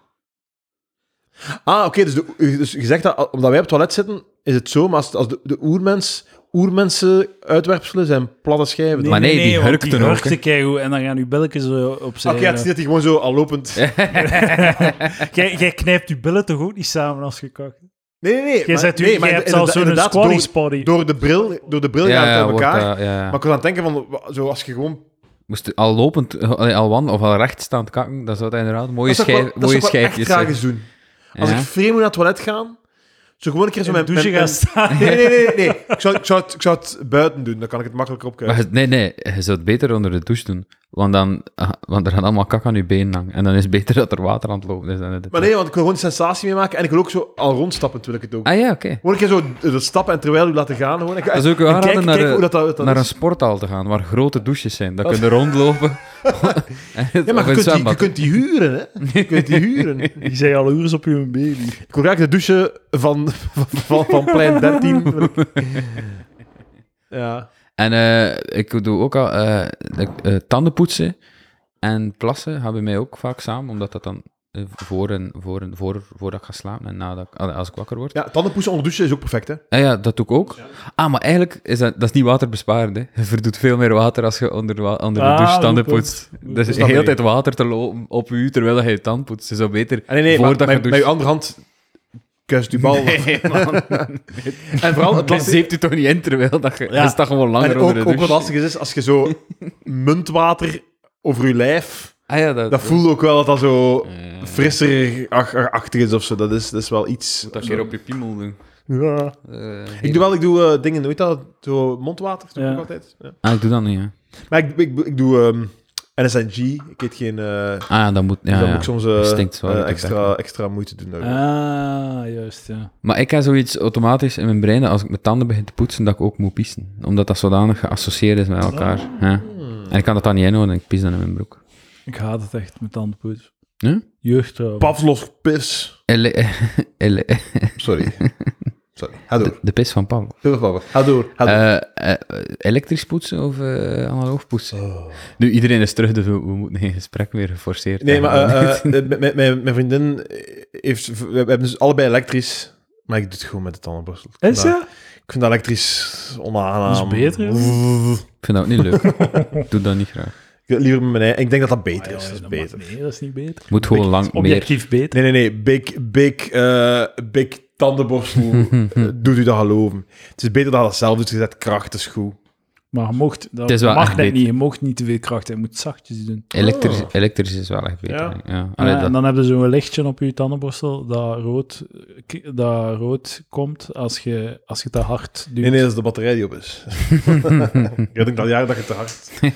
S3: Ah, oké, dus, de- dus je zegt dat al- omdat wij op het toilet zitten, is het zo, maar als, als de, de oermens, oermensen uitwerpselen zijn platte schijven.
S4: Maar nee, die
S1: want
S4: hurkten
S1: die
S4: ook,
S1: hurkten keigoed en dan gaan uw billetjes eh, opzij.
S3: Oké, het is niet dat die gewoon zo al lopend...
S1: Jij, jij knijpt uw billen toch ook niet samen als je kakt?
S3: Nee, nee, nee.
S1: Jij zegt, u-
S3: nee,
S1: jij hebt zelfs zo'n
S3: inderdaad,
S1: squatty
S3: door,
S1: spotty.
S3: door de bril, door de bril gaan het aan
S4: wordt
S3: elkaar.
S4: dat- ja.
S3: Maar ik was aan het denken van, wa- zo als je gewoon...
S4: Moest je al lopend, eh, allee, al wan of al rechtstaand kakken, dan zou dat inderdaad mooie,
S3: dat zou ik wel-
S4: schijf,
S3: dat zou
S4: mooie
S3: ik wel echt
S4: schijfjes
S3: graag
S4: zijn.
S3: eens doen. Als
S4: Ja.
S3: ik vreemd moet naar het toilet gaan, zo gewoon een keer zo
S1: In de
S3: mijn...
S1: douche
S3: mijn-
S1: gaan
S3: mijn-
S1: staan.
S3: Nee, nee, nee, nee. nee. Ik, zou, ik, zou het, ik zou het buiten doen, dan kan ik het makkelijker
S4: Maar
S3: opkuisen.
S4: je- nee, nee, je zou het beter onder de douche doen. Want, dan, ah, want er gaat allemaal kak aan je been hangen. En dan is het beter dat er water aan het lopen is. Dan het-
S3: Maar nee, want ik wil gewoon een sensatie meemaken en ik wil ook zo al rondstappend wil ik het ook.
S4: Ah ja, oké.
S3: Gewoon een keer zo eh, dat stappen en terwijl u laten gaan gewoon. En,
S4: Dat is ook
S3: en
S4: een aanrader
S3: kijken-
S4: naar,
S3: kijken
S4: een-
S3: Eh, hoe dat, dat, dat
S4: naar een
S3: is.
S4: sporthal te gaan, waar grote douches zijn. Dan kun je rondlopen.
S3: Ja, maar je kunt, die, je kunt die huren, hè. Je kunt die huren.
S1: Die zijn al uren op uw baby.
S3: Ik wil graag de douche van, van, van, van plein 13. wil ik. Ja.
S4: En eh, ik doe ook al eh, de- eh, tanden poetsen en plassen gaan bij mij ook vaak samen, omdat dat dan eh, voor en, voor en, voor, voordat ik ga slapen en nadat, ik- allee, als ik wakker word.
S3: ja, tandenpoetsen onder douche is ook perfect, hè.
S4: Ah ja, dat doe ik ook. Ah, maar eigenlijk is dat, dat is niet waterbesparend. Hè. Je verdoet veel meer water als je onder, wa- onder de
S1: Ah,
S4: douche tanden
S1: goed punt.
S4: poetst. Dus
S3: punt.
S4: de hele tijd water te lopen op je terwijl je je tand poetst. is al beter
S3: Ah, nee, nee,
S4: voordat
S3: maar,
S4: je
S3: met, met je
S4: doucht.
S3: andere hand kust je bal.
S4: en vooral, het
S3: lastige-
S4: zeept je toch niet in terwijl dat je...
S1: Ja.
S4: Ja. staat gewoon langer
S3: En
S4: onder
S3: ook,
S4: de
S3: ook wat
S4: douche.
S3: lastig is, is als je zo muntwater over je lijf...
S4: ah ja, dat...
S3: Dat voelt ook wel dat dat zo
S4: Eh,
S3: frisser ach- achtig is of zo. Dat is, dat is wel iets.
S4: dat keer op je piemel doen.
S3: Ja.
S4: Eh,
S3: Ik doe wel, ik doe eh, dingen, nooit dat? Zo mondwater, doe ik
S1: Ja.
S3: ook altijd. Ja.
S4: Ah, ik doe dat niet, ja.
S3: Maar ik, ik, ik doe ehm, NSNG. Ik eet geen... eh,
S4: Ah, ja, dat moet.
S3: Dus
S4: Ja,
S3: dan
S4: ja.
S3: moet ik soms eh,
S4: Dat stinkt wel,
S3: eh,
S4: dat ik
S3: extra, extra moeite doen. daarover.
S1: Ah, juist, ja.
S4: Maar ik heb zoiets automatisch in mijn brein dat als ik mijn tanden begin te poetsen, dat ik ook moet pissen. Omdat dat zodanig geassocieerd is met elkaar.
S3: Ah.
S4: Ja. En ik kan dat dan niet inhouden, ik pies dan in mijn broek.
S1: Ik haat het echt met tandenpoets.
S4: Ja?
S1: Jeugdtrouw.
S3: Pavlov pis.
S4: Ele- ele-
S3: Sorry. Sorry. Ga door.
S4: de pis van Paul.
S3: Heel veel Ga door. Ga
S4: Eh,
S3: door.
S4: elektrisch poetsen of eh, analoog poetsen? Nu, iedereen is terug, dus we, we moeten geen gesprek meer geforceerd
S3: Oh. nee, maar
S4: hebben.
S3: eh, eh, eh, m- m- mijn mijn vriendin heeft... We we hebben dus allebei elektrisch. Maar ik doe het gewoon met de tandenborstel. Ik vind
S1: Is
S3: dat-
S1: ja?
S3: Ik vind dat elektrisch onaangenaam.
S1: Dat is beter, hè?
S4: Ik vind dat ook niet leuk. ik doe dat niet graag.
S3: Ik wil liever met mijn eigen... Ik denk dat dat beter is. Dat is
S1: dat
S3: beter.
S1: mag- Ah, Nee, dat is niet beter.
S4: Moet gewoon lang meer.
S1: Objectief beter.
S3: Nee, nee, nee. Big, big, eh, big tandenborstel. eh, doet u dat geloven. Het is beter dat je dat zelf doet. Je zet kracht, is goed.
S1: Maar je mocht, dat
S4: Het is wel
S1: mag
S4: echt
S1: net
S4: beter.
S1: niet. Je mocht niet te veel kracht hebben. Je moet zachtjes doen.
S4: Elektrisch, elektrisch is wel echt beter.
S3: Ja.
S4: Ja. Ja.
S1: Oh. Ja,
S4: Allee, Ah, dat-
S1: en dan hebben ze zo'n lichtje op je tandenborstel dat rood, k- dat rood komt als je, als je te hard duwt.
S3: Nee, nee, dat is de batterij die op is. ik denk al jaren dat je te hard aan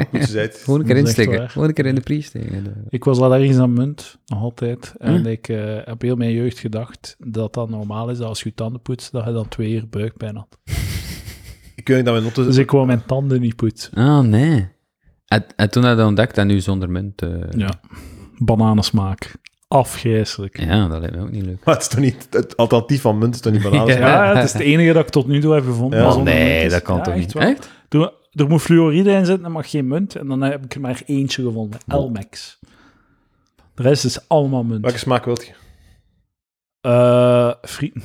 S3: het poetsen bent.
S4: Gewoon een
S1: Dat
S4: keer
S1: is echt waar.
S4: insteken. Gewoon een keer in de pries steken.
S1: Ik was al ergens aan munt, nog altijd. En
S4: Hm.
S1: ik eh, heb heel mijn jeugd gedacht dat dat normaal is dat als je je tanden poetst, dat je dan twee uur buikpijn had.
S3: Ik weet niet dat mijn noten...
S1: Dus ik wou mijn tanden niet poetsen.
S4: Ah, nee. En, en toen had je dat ontdekt en nu zonder munt. eh, ja.
S1: Ja. Bananensmaak. Afgrijselijk.
S4: dat lijkt me ook niet leuk.
S3: Maar het is toch niet... Het alternatief van munt is toch niet bananen?
S4: Ja.
S1: Ja, het is het enige dat ik tot nu toe heb gevonden.
S3: Ja.
S1: Maar
S3: Oh,
S1: zonder muntjes. Ja, echt waar.
S4: Echt?
S1: Toen, er moet fluoride in zitten, er mag geen munt. En dan heb ik er maar eentje gevonden, Elmex. De rest is allemaal munt.
S3: Welke smaak wilt je?
S1: Eh, frieten.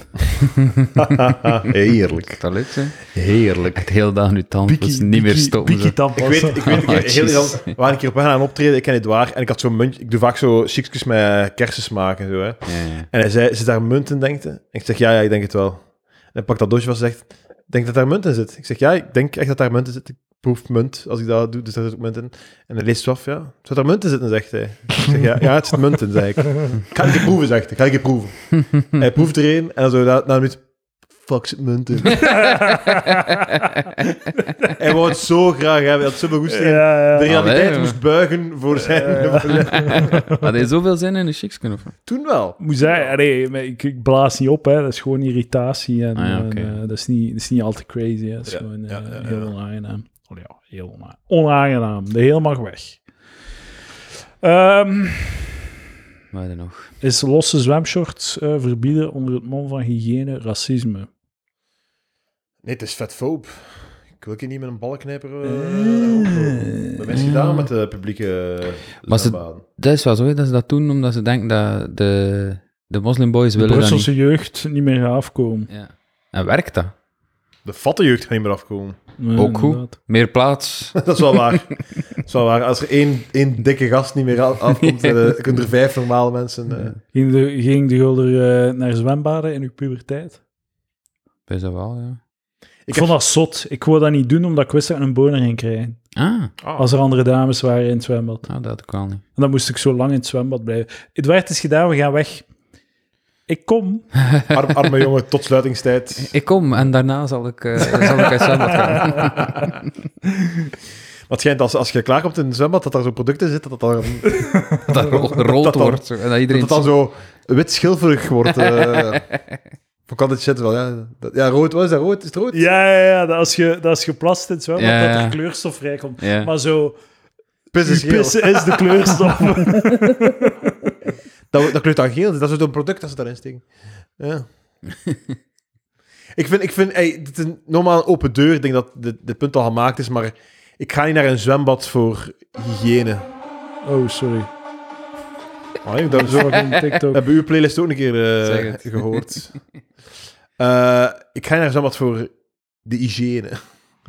S3: Heerlijk.
S4: Dat lukt, hè?
S3: Heerlijk.
S4: Echt heel dag nu tanden poetsen, niet meer stoppen.
S1: Piki
S4: zo.
S3: Ik weet, ik weet, ik
S4: Ah,
S3: weet heel
S4: jezus.
S3: lang, waar ik hier op weg aan optreden, ik ken het waar, en ik had zo'n muntje, ik doe vaak zo chicjes met kersensmaak en zo, hè.
S4: Ja, ja.
S3: En hij zei, zit daar munt in, denkt hij? En ik zeg, ja, ja, ik denk het wel. En hij pakt dat doosje vast en zegt, denk dat daar munt in zit? Ik zeg, ja, ik denk echt dat daar munt in zit. Ik proef munt, als ik dat doe, dus daar zit ook munt in. En hij leest het af, ja. Zou daar munt in zitten, zegt hij. Ik zeg, ja, ja het zit munt in, zeg ik. Ik Ga ik het proeven, zegt hij. Ga ik het proeven. Hij proeft er een en dan zo na, na een minuut, fuck, zit munt in. hij wou het zo graag hebben, hij had zoveel goesting. De realiteit
S4: Allee,
S3: moest buigen voor zijn...
S4: Had je zoveel zin in een chics kunnen of wat?
S3: Toen wel.
S1: Moet zeggen, nee, maar ik, ik blaas niet op, hè. dat is gewoon irritatie. En,
S4: Ah, ja, oké.
S1: eh, dat, is niet, dat is niet al te crazy, hè. dat is
S3: Ja,
S1: gewoon eh,
S3: ja, ja, ja.
S1: heel onaangenaam. Oh, ja, heel ona- onaangenaam. De heel mag weg. Ehm,
S4: Wat er nog?
S1: is losse zwemshorts eh, verbieden onder het mom van hygiëne racisme?
S3: Nee, het is vetfoob. Ik wil je niet met een ballenknijper... Uh, dat mensen gedaan met de publieke
S4: Maar ze-
S3: zwembaden.
S4: Dat is wel zo, hè, dat ze dat doen omdat ze denken dat de, de moslimboys
S1: De
S4: willen dat
S1: Brusselse
S4: niet.
S1: jeugd niet meer gaat afkomen.
S4: Ja. En werkt dat?
S3: De fatte jeugd gaat niet meer afkomen.
S1: Ja,
S4: Ook goed.
S1: Eh, inderdaad.
S4: Meer plaats.
S3: dat is wel waar. dat is wel waar. Als er één, één dikke gast niet meer af- afkomt, eh, kunnen er vijf normale mensen... eh,
S1: Ging de, ging de gulder eh, naar zwembaden in uw puberteit?
S4: Best dat wel, ja.
S1: Ik
S3: Ik
S1: vond
S3: heb-
S1: dat zot. Ik wou dat niet doen, omdat ik wist dat ik een boner ging krijgen.
S4: Ah,
S1: Als er andere dames waren in het zwembad.
S4: nou, dat had ik wel niet.
S1: En dan moest ik zo lang in het zwembad blijven. Het werd is gedaan, we gaan weg. Ik kom.
S3: Arm, arme jongen, tot sluitingstijd.
S4: Ik kom en daarna zal ik, eh, zal ik uit zwembad gaan.
S3: Maar het schijnt als, als je klaarkomt in een zwembad, dat daar zo'n product in zit, dat dat dan,
S4: Dat er ro- gerold
S3: Dat dan-
S4: wordt. zo, en dat
S3: dat
S4: iedereen...
S3: dat dan zo wit schilferig wordt. eh Hoe kan dit shit wel? Ja, dat, ja rood, wat is dat? Rood? Is het rood?
S1: Ja, ja, ja. Dat als je, dat als je plast in het zwembad,
S4: Ja,
S1: dat
S4: ja.
S1: er kleurstof vrijkomt.
S4: Ja.
S1: Maar zo,
S3: Pis is
S1: uw
S3: geel.
S1: pissen is de kleurstof.
S3: Dat, dat kleurt dan geel. is. Dat is zo'n product dat ze daarin steken. Ja. ik vind, ik vind ey, dit is een normaal een open deur. Ik denk dat dit, dit punt al gemaakt is, maar ik ga niet naar een zwembad voor hygiëne.
S1: Oh, sorry.
S3: Oh, ik dat zo
S1: Zorg om TikTok.
S3: Hebben uw playlist ook een keer eh,
S4: Zeg het.
S3: gehoord? Eh, ik ga naar zo wat voor de hygiëne.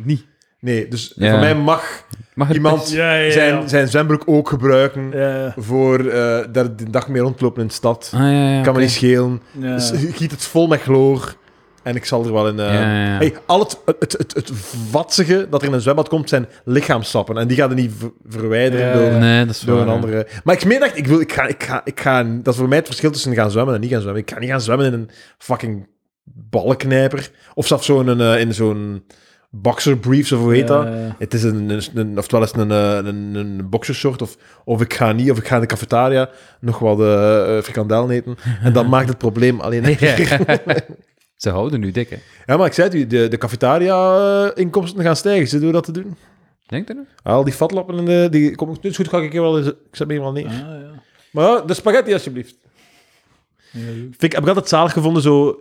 S4: Niet.
S3: Nee, dus
S4: Ja.
S3: voor mij mag
S4: Mag er-
S3: iemand
S1: Ja, ja, ja.
S3: Zijn, zijn zwembroek ook gebruiken
S1: Ja,
S3: voor eh, daar de dag mee rondlopen in de stad.
S4: Ah, ja, ja,
S3: Kan me
S4: oké.
S3: niet schelen.
S1: ja.
S3: Dus giet het vol met chloor en ik zal er wel in... eh,
S4: Ja, ja, ja.
S3: Hey, al het, het, het, het vatsige dat er in een zwembad komt, zijn lichaamsappen. En die gaan er niet ver- verwijderen
S1: Ja,
S3: door,
S1: ja.
S4: Nee, dat is
S3: door
S4: wel
S3: een andere. Maar ik meen dat ik wil, ik ga, ik ga, ik ga, dat is voor mij het verschil tussen gaan zwemmen en niet gaan zwemmen. Ik ga niet gaan zwemmen in een fucking ballenknijper. Of zelfs zo in, een, eh, in zo'n boxer briefs of hoe heet dat.
S1: Ja,
S3: Het is een, een, een- oftewel is het een, eh, een, een boxershort, of, of ik ga niet, of ik ga in de cafetaria nog wat eh eh, frikandellen eten. En dat maakt het probleem alleen erger.
S4: Ze houden nu dik, hè.
S3: Ja, maar ik zei het u, de, de cafetaria-inkomsten gaan stijgen. Ze doen dat te doen.
S4: Denk je dat?
S3: Al die fatlappen, en de, die kom ik dus goed, ga ik hier wel eens, ik zet me hier wel neer.
S1: Ah, ja.
S3: Maar ja, de spaghetti alsjeblieft. Vind ik, heb ik altijd zalig gevonden, zo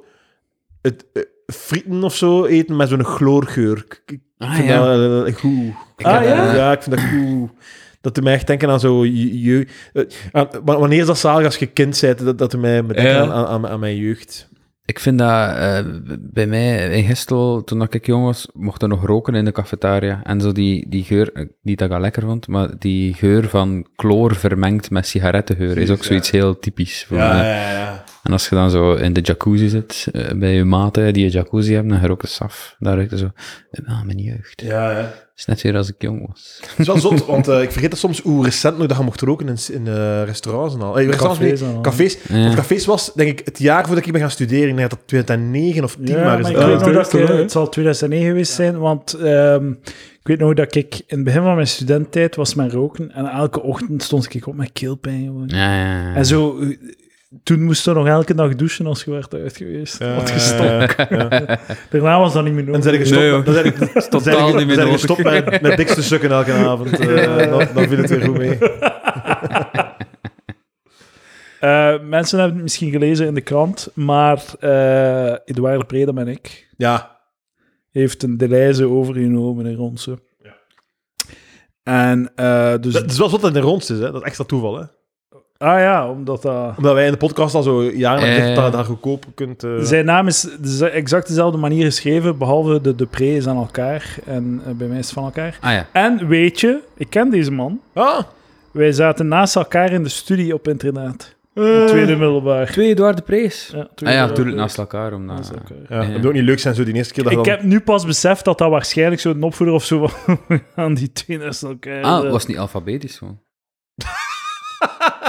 S3: het eh, frieten of zo eten met zo'n chloorgeur. Ik- Ik
S4: Ah,
S3: vind
S4: ja.
S3: dat eh, goed.
S4: Ik heb, eh,
S3: Ja, ik vind dat goed. Dat doet mij echt denken aan zo je, je- eh, aan- wa- wanneer is dat zalig als je kind bent, dat, dat doet mij me denken
S4: Ja.
S3: aan, aan, aan, aan mijn jeugd.
S4: Ik vind dat eh, bij mij in Gestel, toen ik jong was, mocht er nog roken in de cafetaria. En zo die, die geur, eh, niet dat ik dat lekker vond, maar die geur van kloor vermengd met sigarettengeur is ook zoiets heel typisch voor mij.
S3: ja, ja.
S4: En als je dan zo in de jacuzzi zit, eh, bij je maten die een jacuzzi hebben, dan ga je ook een saf. Daar ruikt het zo, ah, mijn jeugd. Het
S3: ja, ja.
S4: is net weer als ik jong was.
S3: Het is wel zot, want eh, ik vergeet dat soms hoe recent nog dat je mocht roken in, in eh, restaurants en al. Eh, restaurants,
S1: Cafés
S3: nee,
S1: en al.
S3: cafés.
S4: Ja.
S3: Want cafés was, denk ik, het jaar voordat ik ben gaan studeren. Ik denk dat dat 2009 of 10
S1: Ja,
S3: maar
S1: maar
S3: is.
S1: ik
S3: dat.
S1: weet nog
S3: Ja.
S1: dat ik, eh, het zal 2009 geweest zijn, want ehm, ik weet nog dat ik in het begin van mijn studententijd was mijn roken en elke ochtend stond ik op met keelpijn. Gewoon.
S4: Ja, ja, ja.
S1: En zo, eh, toen moest je nog elke dag douchen als je werd uit geweest.
S3: Ja,
S1: Want
S3: ja,
S1: je
S3: ja,
S1: stonk. Daarna was dat niet meer
S3: En
S1: nodig.
S3: zijn gestopt,
S4: Nee, hoor.
S3: dan zijn ik, dan zijn
S4: totaal
S3: ik-
S4: niet meer
S3: zijn ik
S4: nodig.
S3: gestopt met, met dikste sukken elke avond. eh, dan, dan viel het weer goed mee.
S1: Eh, mensen hebben het misschien gelezen in de krant, maar eh Eduard Predem en ik
S3: Ja,
S1: heeft een deleize overgenomen in Ronse. En eh, dus...
S3: Dat is wel wat dat in de rondste is, hè? Dat is extra toeval, hè?
S1: ah ja, omdat dat...
S3: Omdat wij in de podcast al zo jaren lang
S4: Eh.
S3: zeggen dat je daar goedkoop kunt... eh,
S1: Zijn naam is dus exact dezelfde manier geschreven, behalve de, de pre is aan elkaar en eh, bij mij is het van elkaar.
S4: Ah ja.
S1: En weet je, ik ken deze man.
S3: Ah!
S1: Wij zaten naast elkaar in de studie op internaat. Op tweede middelbaar.
S4: Eh. Twee Eduard de Prees.
S1: Ja,
S4: Ah
S1: tweede
S4: ja,
S1: middelbaar.
S4: natuurlijk naast elkaar. Om na...
S1: Naast elkaar.
S3: Ja, Het moet ook niet leuk zijn, zo die eerste keer dat je
S1: Ik
S3: dan...
S1: heb nu pas beseft dat dat waarschijnlijk zo'n opvoeder of zo aan die twee naast elkaar.
S4: Ah,
S1: eh,
S4: was het niet alfabetisch gewoon?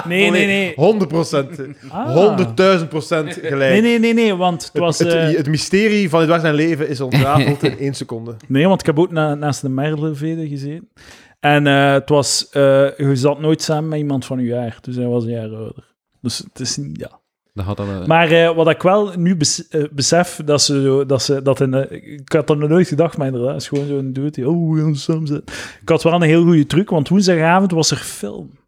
S1: Nee, nee, nee.
S3: 100 Oh, procent.
S1: Ah.
S3: 100.000 procent gelijk.
S1: Nee, nee, nee, nee, want het was...
S3: het,
S1: eh,
S3: het mysterie van Edouard zijn leven is ontrafeld in één seconde.
S1: Nee, want ik heb ook na- naast de Merlevede gezeten. En eh, het was, eh, je zat nooit samen met iemand van je jaar. Dus hij was een jaar ouder. Dus het is niet, ja.
S4: Dat had al een...
S1: Maar eh, wat ik wel nu bes- eh, besef, dat ze, zo- dat ze dat in de- Ik had dat nog nooit gedacht, maar inderdaad, het is gewoon zo'n dude die... Oh, we gaan samen zitten. Ik had wel een heel goede truc, want woensdagavond was er film.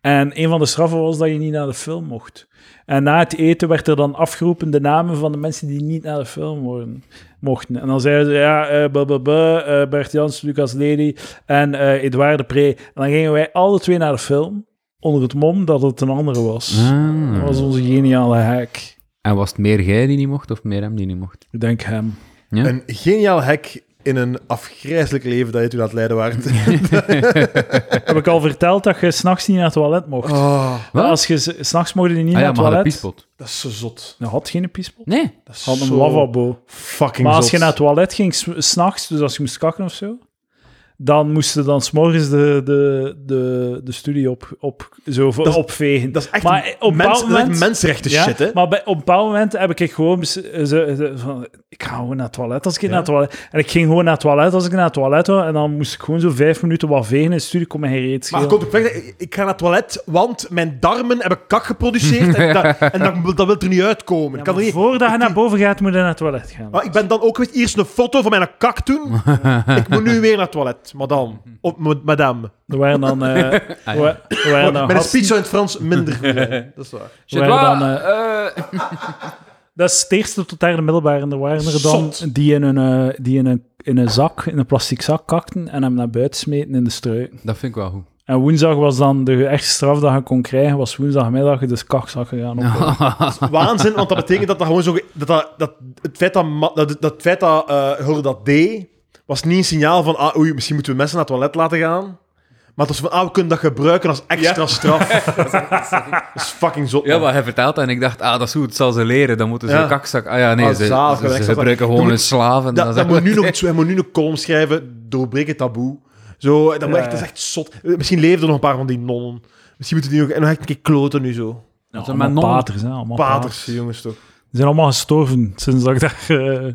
S1: En een van de straffen was dat je niet naar de film mocht. En na het eten werd er dan afgeroepen de namen van de mensen die niet naar de film worden, mochten. En dan zeiden ze, ja, eh blablabla, eh, Bert Jans, Lucas Lely en eh Edouard de Pre. En dan gingen wij alle twee naar de film, onder het mom dat het een andere was.
S4: Ah. Hmm.
S1: Dat was onze geniale hack.
S4: En was het meer jij die niet mocht of meer hem die niet mocht?
S1: Ik denk hem.
S3: Een geniaal hack in een afgrijzelijk leven dat je toen aan het leiden waart.
S1: Heb ik al verteld dat je s'nachts niet naar het toilet mocht?
S3: Oh,
S4: Wat?
S1: Als je s'nachts mocht je niet
S4: ah
S1: naar
S4: ja,
S1: het
S4: maar een
S1: toilet.
S4: piespot.
S3: dat is zo zot.
S1: Je had geen piespot.
S4: Nee.
S3: Dat is
S1: Had een
S3: zo
S1: lavabo.
S3: Fucking
S1: Maar als
S3: zot.
S1: je naar het toilet ging, s- s'nachts, dus als je moest kakken of zo, dan moest je dan s'morgens de, de, de, de studie op, op, zo, voor-
S3: Dat is-
S1: opvegen.
S3: Dat is echt
S1: Maar op een
S3: mens-
S1: bepaald
S3: dat is echt
S1: moment-
S3: mensenrechten
S1: Ja,
S3: shit, hè?
S1: Maar bij, op een bepaald moment heb ik gewoon... bes- eh, ze- ze- van, ik ga gewoon naar het toilet als ik naar het toilet... En ik ging gewoon naar het toilet als ik naar het toilet was. En dan moest ik gewoon zo vijf minuten wat vegen in de studie. Kom me geen reet
S3: Maar ik
S1: schelen.
S3: kon ook weg, ik- ik ga naar het toilet, want mijn darmen hebben kak geproduceerd en, dat, en dat, dat wil er niet uitkomen.
S1: Ja,
S3: ik, kan er
S1: maar
S3: niet,
S1: Voordat je naar boven gaat, moet je naar het toilet gaan.
S3: Ah, ik ben dan ook geweest, hier is een foto van mijn kak toen. ik moet nu weer naar het toilet, madame. Of ma- madame.
S1: Er waren dan... eh, er wa- er waren dan
S3: Mijn
S1: gasten-
S3: speech zou in het Frans minder goed zijn. Dat is waar.
S1: er waren dan, eh, Dat is het eerste tot derde middelbaar. En er waren er dan
S3: Zot.
S1: die, in een, eh, die in, een, in een zak, in een plastic zak kakten en hem naar buiten smeten in de struiken.
S4: dat vind ik wel goed.
S1: En woensdag was dan de echte straf dat je kon krijgen, was woensdagmiddag dus de kakzak gegaan op.
S3: Waanzin, want dat betekent dat dat gewoon zo... ge- Dat, dat, dat het feit dat, ma- dat, dat, het feit dat eh, Hulde dat deed, was niet een signaal van, ah, oei, misschien moeten we mensen naar het toilet laten gaan. Maar het was van, ah, we kunnen dat gebruiken als extra straf. dat is fucking zot,
S4: Ja,
S3: man.
S4: maar hij vertelt dat en ik dacht, ah, dat is goed, het zal ze leren, dan moeten ze
S3: Ja.
S4: een kakzak... Ah ja, nee,
S3: Ah,
S4: ze,
S3: zalig,
S4: ze,
S3: gelijk,
S4: ze
S3: zalig.
S4: gebruiken
S3: Je
S4: gewoon
S3: moet-
S4: een slaaf en
S3: Dat,
S4: dan
S3: dat
S4: zeggen
S3: moet nu nog iets, hij moet nu een column schrijven, doorbreek het taboe. Zo, dat, moet echt, dat is echt zot. Eh, Misschien leven er nog een paar van die nonnen. Misschien moeten die nog, en nog echt een keer kloten nu zo.
S1: Ja,
S4: zijn maar
S1: allemaal
S4: nonnen.
S1: paters, hè, allemaal paters.
S3: Paters, Oh, die jongens toch.
S1: Ze zijn allemaal gestorven sinds dat ik daar eh,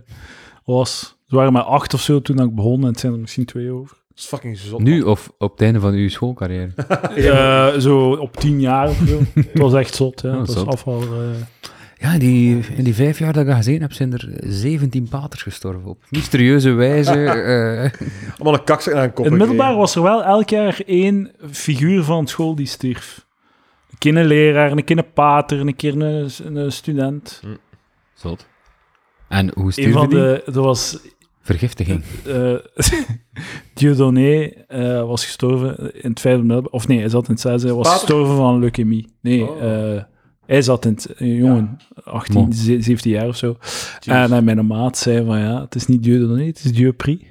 S1: was. Ze waren maar acht of zo toen ik begon en het zijn er misschien twee over.
S3: Dat is fucking zot.
S4: Nu of op het einde van uw schoolcarrière?
S1: Eh, zo op tien jaar of zo. het was echt zot, ja. Het was
S4: zot.
S1: afval. eh.
S4: Ja, die, in die vijf jaar dat ik dat gezien heb, zijn er 17 paters gestorven op mysterieuze wijze. eh
S3: Allemaal een kakzak aan een kop.
S1: In het middelbaar
S3: gekregen.
S1: was er wel elk jaar één figuur van school die stierf. Een keer een leraar, een keer een pater, een keer een, een student.
S4: Zot. En hoe
S1: Een
S4: Hm. stuurde
S1: van
S4: die?
S1: de... Er was...
S4: Vergiftiging.
S1: eh Dieudonné eh, was gestorven in het vijfde middelbaar. Of nee, hij zat in het zesde. Hij was
S3: Pater?
S1: gestorven van leukemie. Nee,
S3: Oh.
S1: eh, hij zat in het... een jongen, 18,
S4: Mon.
S1: ze- 17 jaar of zo. En eh, mijn maat zei van ja, het is niet Dieudonné, het is Dieupri.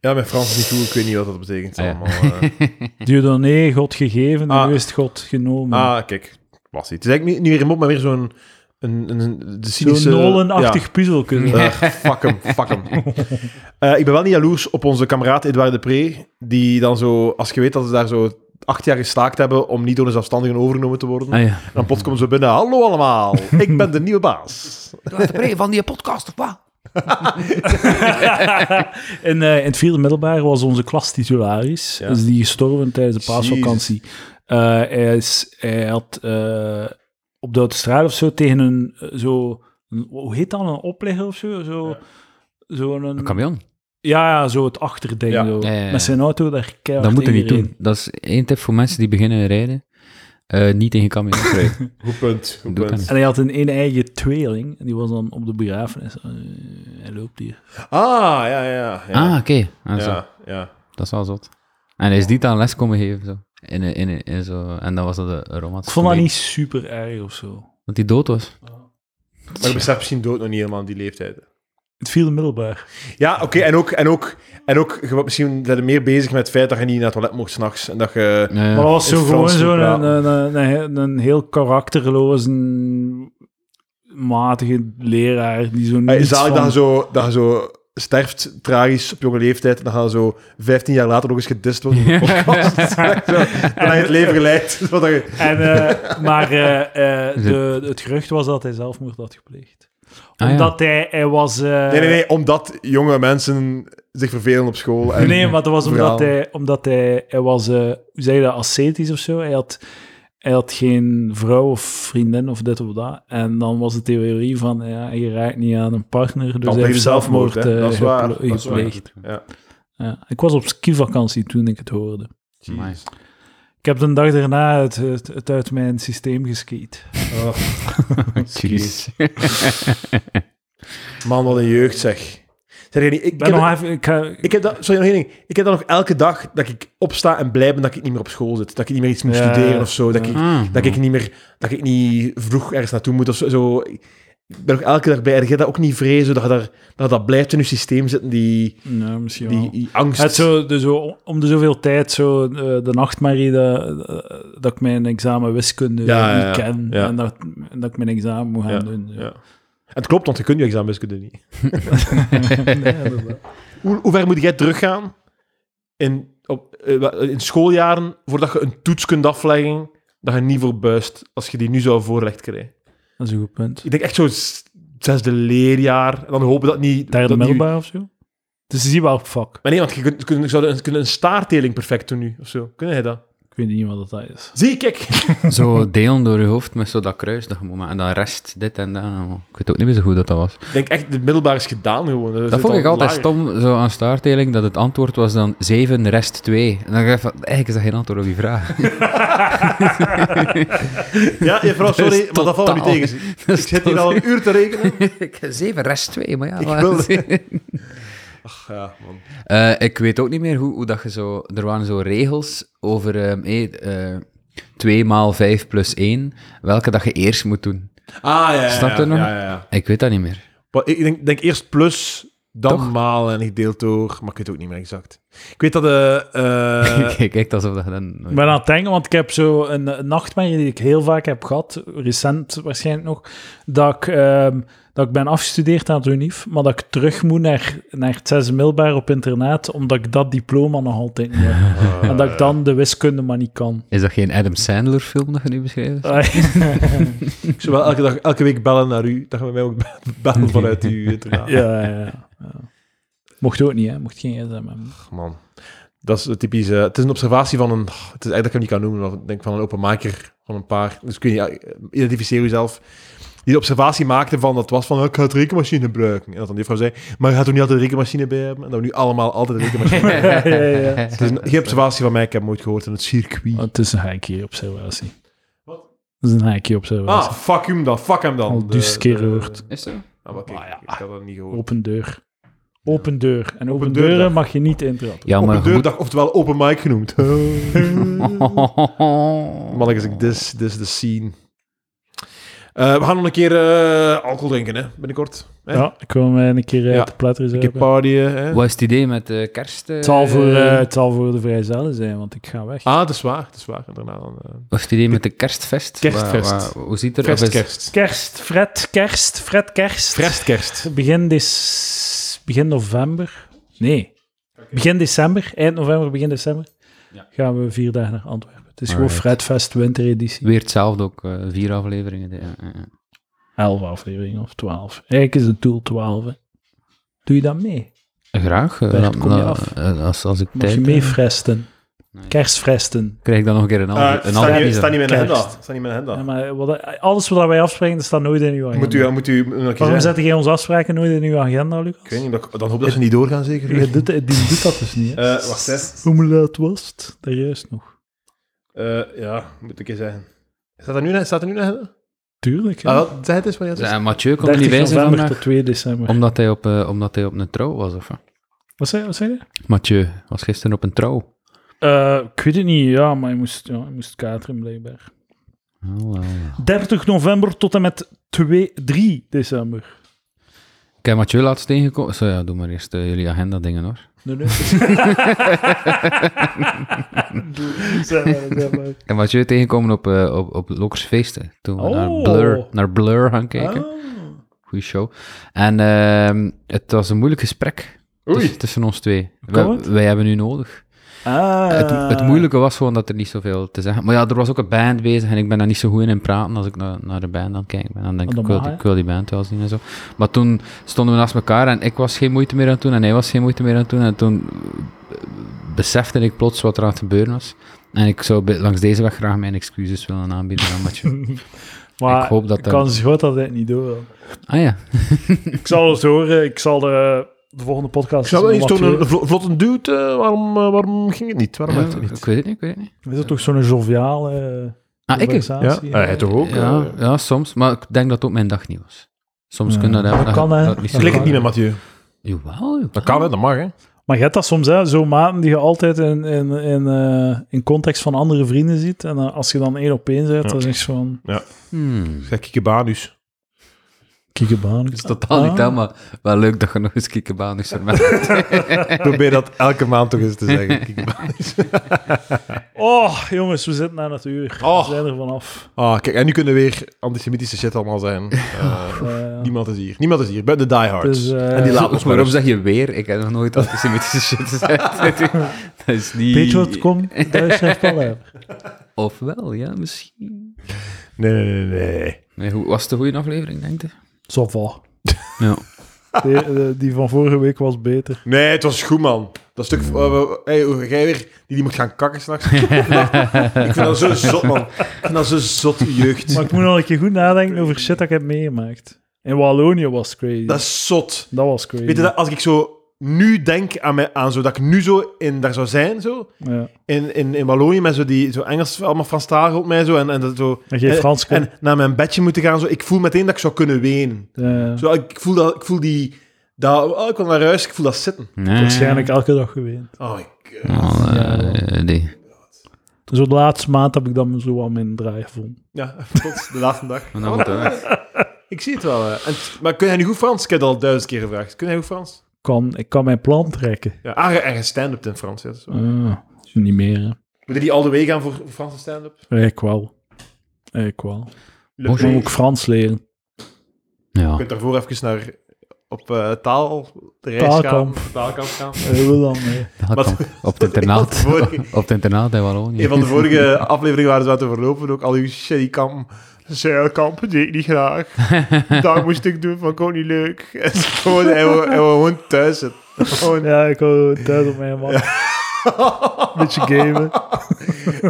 S3: Ja, mijn Frans is niet goed, ik weet niet wat dat betekent.
S4: Ah, ja.
S3: allemaal, eh.
S4: Hm.
S1: Dieudonné, God gegeven, en
S3: Ah.
S1: nu is het God genomen.
S3: Ah, kijk. Was hij. Het is eigenlijk niet, niet weer een mop, maar weer zo'n... Een, een, een, de cynische...
S1: Zo'n Nolan-achtig puzzelkunde.
S3: Ja. Eh, fuck hem, fuck hem. Eh, ik ben wel niet jaloers op onze kameraad Edouard Depree, die dan zo... Als je weet dat ze daar zo acht jaar gestaakt hebben om niet door de zelfstandigen overgenomen te worden,
S4: Ah ja.
S3: dan plots komen ze binnen. Hallo allemaal, ik ben de nieuwe baas.
S4: van die podcast of wat?
S1: In, eh, in het vierde middelbaar was onze klas titularis.
S3: Ja.
S1: Dus die gestorven tijdens de paasvakantie. Eh, hij, is, hij had eh, op de autostrade of zo tegen een, eh, zo, een- hoe heet dat, een oplegger of zo? zo Zo'n...
S4: Een camion.
S1: ja, ja, zo het achterding.
S3: Ja.
S1: zo.
S4: Ja, ja, ja.
S1: Met zijn auto daar keihard
S4: Dat moet je niet
S1: tegen
S4: doen. Dat is één tip voor mensen die beginnen rijden. Eh, niet tegen camions rijden.
S3: Goed punt, goed
S4: Doe
S3: punt.
S4: dat
S1: En hij had een, een eigen tweeling. En die was dan op de begrafenis. Eh, hij loopt hier.
S3: Ah, ja, ja, ja.
S4: Ah, oké. Ah, zo.
S3: ja, ja.
S4: Dat is wel zot. En hij is die dan les komen geven. Zo. In, een- in, een- in zo. En dan was dat een
S1: Ik
S4: romantische
S1: vond dat
S4: comedie.
S1: niet super erg of zo. In
S4: Dat hij dood was.
S3: Maar je beseft misschien dood nog niet helemaal die leeftijd.
S1: het vierde middelbaar.
S3: Ja, oké. En ook, en ook, en ook je wordt misschien zijn meer bezig met het feit dat je niet naar het toilet mocht s'nachts. En dat je...
S4: Ja, ja.
S1: Maar dat was
S3: In
S1: zo
S3: het
S1: gewoon
S3: Frans
S1: zo'n een,
S3: praten.
S1: een, een, een heel karakterloze, matige leraar die zo
S3: Hey,
S1: niets
S3: Ah, zalig dat
S1: van...
S3: je, zo, dat je zo sterft, tragisch, op jonge leeftijd. En dan gaan zo 15 jaar later nog eens gedist worden. op de podcast. Zo, Dan heb je het leven geleid. Zo dat je-
S1: En, eh, maar eh, eh, de, het gerucht was dat hij zelfmoord had gepleegd.
S4: Ah, ja.
S1: Omdat hij, hij was... eh,
S3: Nee, nee, nee. Omdat jonge mensen zich vervelen op school. En,
S1: nee, maar dat was omdat
S3: verhaal.
S1: hij... Omdat hij, hij was, eh, hoe zeg je dat, ascetisch of zo? Hij had, hij had geen vrouw of vriendin of dit of dat. En dan was de theorie van, ja, je raakt niet aan een partner, dus
S3: Dan
S1: hij
S3: pleeg je
S1: heeft zelfmoord,
S3: zelfmoord, hè.
S1: eh,
S3: Dat is waar,
S1: geple-
S3: dat is waar.
S1: gepleegd.
S3: Ja.
S1: Ja, ik was op skivakantie toen ik het hoorde.
S4: Amai.
S1: Ik heb de dag daarna het, het, het uit mijn systeem geskiet.
S4: Jeez.
S3: Man, wat een jeugd zeg. Zeg je niet,
S1: Ik
S3: ik, ik, heb,
S1: ben nog even... Ik ga,
S3: ik heb dat, sorry, nog één ding. Ik heb dan nog elke dag dat ik opsta en blij ben dat ik niet meer op school zit. Dat ik niet meer iets moet
S1: Ja, Mm.
S3: studeren of zo. Dat,
S1: ja.
S3: ik, dat ik niet meer, dat ik niet vroeg ergens naartoe moet of zo. zo. Ik ben nog elke dag blij. En je dat ook niet vrezen dat je daar, dat, dat blijft in je systeem zitten, die,
S1: nou, misschien wel.
S3: die, die angst.
S1: Het zo, de, zo, om de zoveel tijd, zo, eh, de nachtmerrie, dat, eh, dat ik mijn examen wiskunde
S3: Ja, ja,
S1: niet
S3: ja.
S1: ken.
S3: Ja.
S1: En, dat, en dat ik mijn examen moet gaan
S3: Ja,
S1: doen. Ja.
S3: ja. Het klopt, want je kunt je examenwiskunde niet. hoe, hoe ver moet jij teruggaan in, op, eh, wa- in schooljaren voordat je een toets kunt afleggen dat je niet voor buist als je die nu zou voorrecht krijgen?
S1: Dat is een goed punt.
S3: Ik denk echt zo'n s- zesde leerjaar. En dan hopen dat niet...
S1: Derde
S3: dat niet-
S1: middelbaar of zo? Dus zie wel fuck.
S3: Maar nee, want je kunt, kunt, zou een, kunnen een staartdeling perfect doen nu, of zo. Kunnen jij dat?
S1: Ik weet niet wat dat is.
S3: Zie, kijk!
S4: Zo delen door je hoofd met zo dat kruis dat je moet maken. En dan rest dit en dat. allemaal. Ik weet ook niet meer zo goed dat dat was.
S3: Ik denk echt, de middelbaar is gedaan gewoon.
S4: Dat vond ik altijd stom, zo aan staartdeling, dat het antwoord was dan 7, rest 2. En dan dacht ik van, eigenlijk is dat geen antwoord op je vraag.
S3: Ja, je vrouw, sorry,
S4: Dat is
S3: maar dat valt me niet
S4: totaal-
S3: tegen. zie. Ik zit hier al een uur te rekenen.
S4: 7, rest 2, maar ja.
S3: Ik
S4: wat-
S3: wilde- Ach, ja, man.
S4: Eh, ik weet ook niet meer hoe, hoe dat je zo... Er waren zo regels over ehm eh, eh, 2 maal 5 plus 1, welke dat je eerst moet doen.
S3: Ah, ja, ja,
S4: Snap je
S3: ja,
S4: nog?
S3: ja, ja, ja.
S4: Ik weet dat niet meer.
S3: Maar ik denk, denk eerst plus, dan
S4: Toch?
S3: maal en ik deel door. Maar ik weet het ook niet meer exact. Ik weet dat de... eh,
S4: Je kijkt alsof dat je dan... nooit-
S1: Ik ben aan het denken, want ik heb zo een, een nachtmerrie die ik heel vaak heb gehad, recent waarschijnlijk nog, dat ik, ehm, dat ik ben afgestudeerd aan het UNIF, maar dat ik terug moet naar, naar het zesde middelbaar op internaat, omdat ik dat diploma nog altijd niet heb. en dat ik dan de wiskunde maar niet kan.
S4: Is dat geen Adam Sandler film dat je nu beschrijft?
S3: ik zou wel elke, dag, elke week bellen naar u. Dan gaan we mij ook be- bellen vanuit uw internaat.
S1: ja, ja, ja. Mocht ook niet, hè. Mocht geen gsm hebben.
S3: Ach, man. Dat is het typische... Het is een observatie van een... Het is eigenlijk dat ik hem niet kan noemen, maar ik denk van een openmaker van een paar. Dus kun je ja, identificeer jezelf. Die de observatie maakte van dat was van ik ga het rekenmachine gebruiken. En dat dan die vrouw zei, maar je gaat er niet altijd een rekenmachine bij hebben. En dat we nu allemaal altijd een rekenmachine hebben.
S1: ja, ja, ja.
S3: Het is een- geen observatie van mij, ik heb hem ooit gehoord in het circuit. Ah,
S1: Oh, het is een haakje observatie. Wat? Het is een haakje observatie.
S3: Ah, fuck hem dan, fuck hem dan.
S1: Al
S3: De-
S1: duizend keer
S3: de-
S1: gehoord.
S4: Is zo?
S3: Ah, maar kijk,
S1: Ah, ja.
S3: ik had dat niet gehoord.
S1: Open deur. Open deur. En open,
S3: deurdag.
S1: deuren mag je niet intrappen.
S4: Ja, maar
S3: Open
S4: je moet-
S3: deurdag, oftewel open mic genoemd. Mannetjes, ik this, this is the scene. Eh, we gaan nog een keer eh, alcohol drinken, hè, binnenkort. Hè?
S1: Ja, ik wil mij een keer eh,
S3: Ja.
S1: te platter
S3: Een keer
S1: zijn.
S3: partyen. Hè?
S4: Wat is het idee met eh, kerst? eh,
S1: Het zal voor, eh, het zal voor de vrijzellen zijn, want ik ga weg.
S3: Ah, dat is waar, dat is waar. En daarna dan... eh,
S4: Wat is het idee met de kerstfest?
S3: Kerstfest.
S4: Wa- wa- hoe ziet er... of is-
S3: kerstkerst.
S1: Kerst, Fred, kerst, Fred, kerst.
S3: Kerstkerst.
S1: Begin, des, begin november. Nee. Begin december, eind november, begin december. Gaan we vier dagen naar Antwerpen. Het is gewoon
S4: Alright.
S1: Fredfest wintereditie.
S4: Weer hetzelfde ook, eh, vier afleveringen. Ja, ja, ja.
S1: Elf afleveringen of twaalf. Eigenlijk is het doel twaalf. hè. Doe je dat mee?
S4: Graag. eh,
S1: Bert,
S4: dan-
S1: kom je
S4: dan-
S1: af?
S4: eh, als, als ik
S1: Mag
S4: tijd
S1: je
S4: heb,
S1: mee fresten? Kerstfresten.
S4: krijg ik dan nog een keer
S1: Ah,
S4: een halve.
S3: Eh,
S4: een
S3: staat
S4: halve
S3: niet-
S4: visa.
S3: staat niet in mijn agenda.
S1: Kerst.
S3: Staat niet in mijn agenda.
S1: Ja, maar wat, alles wat wij afspreken, dat staat nooit in uw agenda.
S3: Moet u, moet u nog
S1: Waarom
S3: eens
S1: zetten jij onze afspraken nooit in uw agenda, Lucas?
S3: Ik weet niet, maar dan hoop ik dat ze Eh, niet doorgaan, zeker.
S1: Jij doet, die doet dat dus niet, hè?
S3: Eh, wacht, hè.
S1: Hoe laat was het? Daar juist nog.
S3: Eh, ja, moet ik eens zeggen. Staat er nu, staat er nu een agenda?
S1: Tuurlijk, hè.
S3: Ah, wel, zeg het eens wanneer het is.
S4: Ja, Mathieu kon er
S1: 30
S4: niet bij zijn
S1: november
S4: vandaag,
S1: tot 2 december.
S4: omdat hij, op, eh, omdat hij op een trouw was. Of? wat?
S1: Wat zei, wat zei je?
S4: Mathieu was gisteren op een trouw.
S1: Eh, ik weet het niet, ja, maar je moest, ja, je moest kateren blijkbaar.
S4: Ah,
S1: 30 november tot en met 2, 3 december.
S4: Ik heb Mathieu laatst tegengekomen. Zo ja, doe maar eerst eh, jullie agenda dingen hoor.
S1: Nee, nee. Doe, zeg maar, zeg maar.
S4: Ik heb Mathieu tegengekomen op, eh op, op Lokers Feesten. Toen we naar,
S1: Oh.
S4: Blur, naar Blur gaan kijken.
S1: Ah.
S4: Goeie show. En ehm, het was een moeilijk gesprek tussen, tussen ons twee.
S1: kan
S4: Wij,
S1: het?
S4: wij hebben u nodig.
S1: Ah.
S4: Het,
S1: Eh.
S4: het moeilijke was gewoon dat er niet zoveel te zeggen... Maar ja, er was ook een band bezig en ik ben daar niet zo goed in in praten als ik naar, naar de band aan het kijken ben. Dan denk
S1: Ah,
S4: ik,
S1: dat
S4: ik wil,
S1: mag,
S4: die-
S1: hè?
S4: ik wil die band wel zien en zo. Maar toen stonden we naast elkaar en ik was geen moeite meer aan het doen en hij was geen moeite meer aan het doen. En toen eh, besefte ik plots wat er aan het gebeuren was. En ik zou bij- langs deze weg graag mijn excuses willen aanbieden aan Mathieu.
S1: Maar
S4: Ik hoop dat
S1: de
S4: dat-
S1: kans is groot dat hij het niet door wil.
S4: ah ja,
S1: Ik zal het horen. Ik zal de, de volgende podcast.
S3: Ik snap
S1: is
S3: wel niet,
S1: nog
S3: zo'n
S1: maar
S3: een
S1: twee.
S3: vlo- vlotte duwt, eh, waarom, eh, waarom ging het niet? Waarom heeft het
S4: ik
S3: niet?
S4: weet het niet, ik weet het niet.
S1: Is dat toch zo'n joviale
S4: Ah, ik?
S3: Ja,
S1: conversatie?
S3: hij toch ook? eh,
S4: Ja, ja, soms. Maar ik denk dat het ook mijn dag niet was. Soms
S1: Ja.
S4: kun je dat
S1: Dat
S4: hebben.
S1: kan, hè.
S4: niet
S1: Dat
S4: zo
S3: Klik het
S4: vaak-
S3: niet meer, Mathieu.
S4: Jawel, jawel.
S3: Dat kan, hè, dat mag, hè.
S1: Maar je hebt dat soms, hè, zo maten die je altijd in, in, in, eh, in context van andere vrienden ziet. En dan als je dan één op één zet,
S3: Ja.
S1: dan zeg je van...
S4: Hmm.
S3: Zeg, Kikebanus.
S1: Kiekebaan.
S4: Dat is totaal
S1: Ah.
S4: niet dat, maar wel leuk dat je nog eens kiekenbaan is voor mij.
S3: Probeer dat elke maand toch eens te zeggen. Kikebanus.
S1: Oh, jongens, we zitten aan het uur.
S3: Oh.
S1: We zijn er vanaf.
S3: Ah, kijk, en nu kunnen weer antisemitische shit allemaal zijn. Eh,
S1: Eh,
S3: Niemand is hier. Niemand is hier. Ben de diehards.
S1: Dus, eh,
S3: en die laat ons
S4: Waarom
S3: maar
S4: Waarom
S3: op.
S4: zeg je weer? Ik heb nog nooit antisemitische shit gezegd. dat is niet...
S1: Patreon.com, daar schrijft al
S4: Ofwel, ja, misschien.
S3: Nee, nee, nee, nee.
S4: Nee, hoe, was het een goede aflevering, denk je?
S1: Zo va.
S4: Ja.
S1: Die, eh, die van vorige week was beter.
S3: Nee, het was goed, man. Dat stuk... eh, we- hey, hoe- jij weer... Die, die moet gaan kakken s'nachts. ik vind dat zo zot, man. Ik vind dat zo zot, die jeugd.
S1: Maar ik moet nog een keer goed nadenken over shit dat ik heb meegemaakt. In Wallonië was het crazy.
S3: Dat
S1: Dat,
S3: is zot.
S1: was crazy.
S3: Weet je, dat, als ik zo nu denk aan, mij, aan zo, dat ik nu zo in, daar zou zijn, zo,
S1: Ja.
S3: in, in, in Wallonië, met zo die zo Engels, allemaal Franstalig op mij, zo, en, en dat zo...
S1: En geen
S3: en-
S1: Frans kon.
S3: En naar mijn bedje moeten gaan, zo. Ik voel meteen dat ik zou kunnen wenen.
S1: Eh,
S3: Zo, ik, voel dat, ik voel die... Dat, oh, ik wil naar huis, ik voel dat zitten.
S4: Nee.
S1: waarschijnlijk elke dag geweend.
S3: Oh my god.
S4: Oh, eh, nee.
S1: Zo de laatste maand heb ik dan zo aan mijn draai gevonden.
S3: Ja, tot de laatste dag.
S4: Maar dan moet dat weg.
S3: Ik zie het wel. hè. En t- maar kun jij nu goed Frans? Ik heb het al duizend keer gevraagd. Kun jij goed Frans?
S1: Kan, ik kan mijn plan trekken.
S3: Ja, ah, en je stand-up in Frans. Ja, dat is waar.
S1: Ah, niet meer, hè.
S3: Moeten die al de way gaan voor Franse stand-up?
S1: Ik wel. Ik wel.
S3: Le
S4: Moest
S1: Ik
S3: Prix.
S1: moet ook Frans leren.
S3: Je
S4: Ja.
S3: kunt daarvoor even naar op eh, taal, de reis
S1: Taalkamp.
S3: gaan. Taalkamp gaan.
S1: Ik wil dan mee.
S4: Dat
S3: Wat-
S4: kan. Op het internaat.
S3: Wat voor-
S4: Op het internaat in Wallonië.
S3: Een van de vorige afleveringen waren ze aan te verlopen. Ook al uw sherrykamp. Zeilkampen deed ik niet graag. Dat moest ik doen, vond ik ook niet leuk. En ze gewoon, hij wil, hij wil gewoon thuis zitten. Gewoon-
S1: Ja, ik hou thuis op mijn man. Beetje gamen.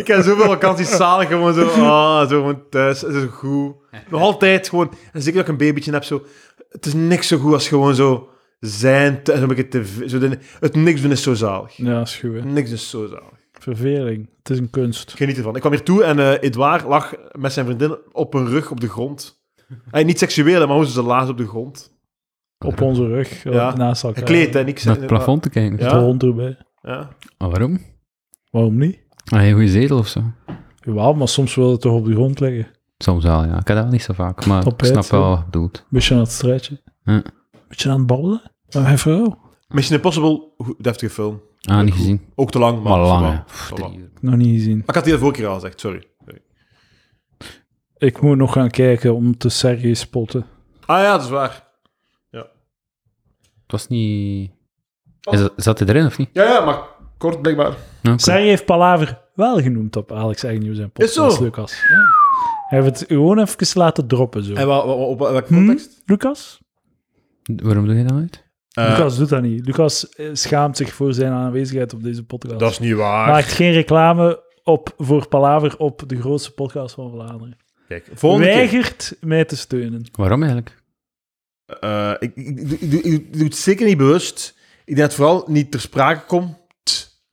S3: Ik heb zoveel vakanties zalig, gewoon zo, ah, zo gewoon thuis, het is goed. Nog altijd gewoon, en zeker dat ik een babytje heb, zo, het is niks zo goed als gewoon zo zijn, thuis, zo'n beetje tv, zo, de- het niks doen is zo zalig.
S1: Ja, schuw. hè.
S3: Niks is zo zalig.
S1: Verveling. Het is een kunst.
S3: Ik geniet ervan. Ik kwam hier toe en eh Edouard lag met zijn vriendin op een rug op de grond. Hij niet seksueel, hè, maar hoe ze zijn laars op de grond.
S1: Op onze rug.
S3: Ja.
S1: Naast elkaar.
S3: Gekleed, hè, niks.
S4: Naar het plafond te kijken.
S1: Met
S3: Ja.
S1: de hond erbij.
S3: Ja.
S4: Maar waarom? Ah,
S1: Waarom niet?
S4: Een heel goede zetel of zo.
S1: Jawel, maar soms wil het toch op de grond liggen.
S4: Soms wel, ja. Ik heb dat niet zo vaak, maar
S1: Op
S4: ik snap
S1: het,
S4: wel
S1: ja.
S4: wat je bedoelt.
S1: Beetje aan het stretchen.
S4: Ja.
S1: Beetje aan het babbelen. Met mijn vrouw.
S3: Mission Impossible, goed, deftige film.
S4: Ah, niet gezien.
S3: Ook te lang, maar...
S4: Maar lang,
S3: ça
S4: hè.
S3: va,
S4: Pff,
S3: ça va.
S4: drie uur.
S1: Nog niet gezien.
S3: Ik had die de vorige keer al gezegd, sorry. sorry.
S1: Ik moet nog gaan kijken om te serieus spotten.
S3: Ah ja, dat is waar.
S4: Het was niet... Is dat- zat hij erin of niet?
S3: Ja, ja, maar kort blijkbaar.
S4: Nou, oké.
S1: Sergej heeft Palaver wel genoemd op Alex Agnew zijn
S3: Is zo?
S1: podcast, Lucas. Ja. Hij heeft het gewoon even laten droppen, zo.
S3: En wa- wa- op welke
S1: Hm?
S3: context?
S1: Lucas?
S4: Waarom doe je dat uit?
S3: Eh,
S1: Lucas doet dat niet. Lucas eh, schaamt zich voor zijn aanwezigheid op deze podcast.
S3: dat is niet waar.
S1: Maakt geen reclame op, voor Palaver op de grootste podcast van Vlaanderen.
S3: Kijk, volgende keer.
S1: Weigert mij te steunen.
S4: Waarom eigenlijk?
S3: Eh, ik, ik, ik- ik- ik- ik doe het zeker niet bewust. Ik denk dat het vooral niet ter sprake komt.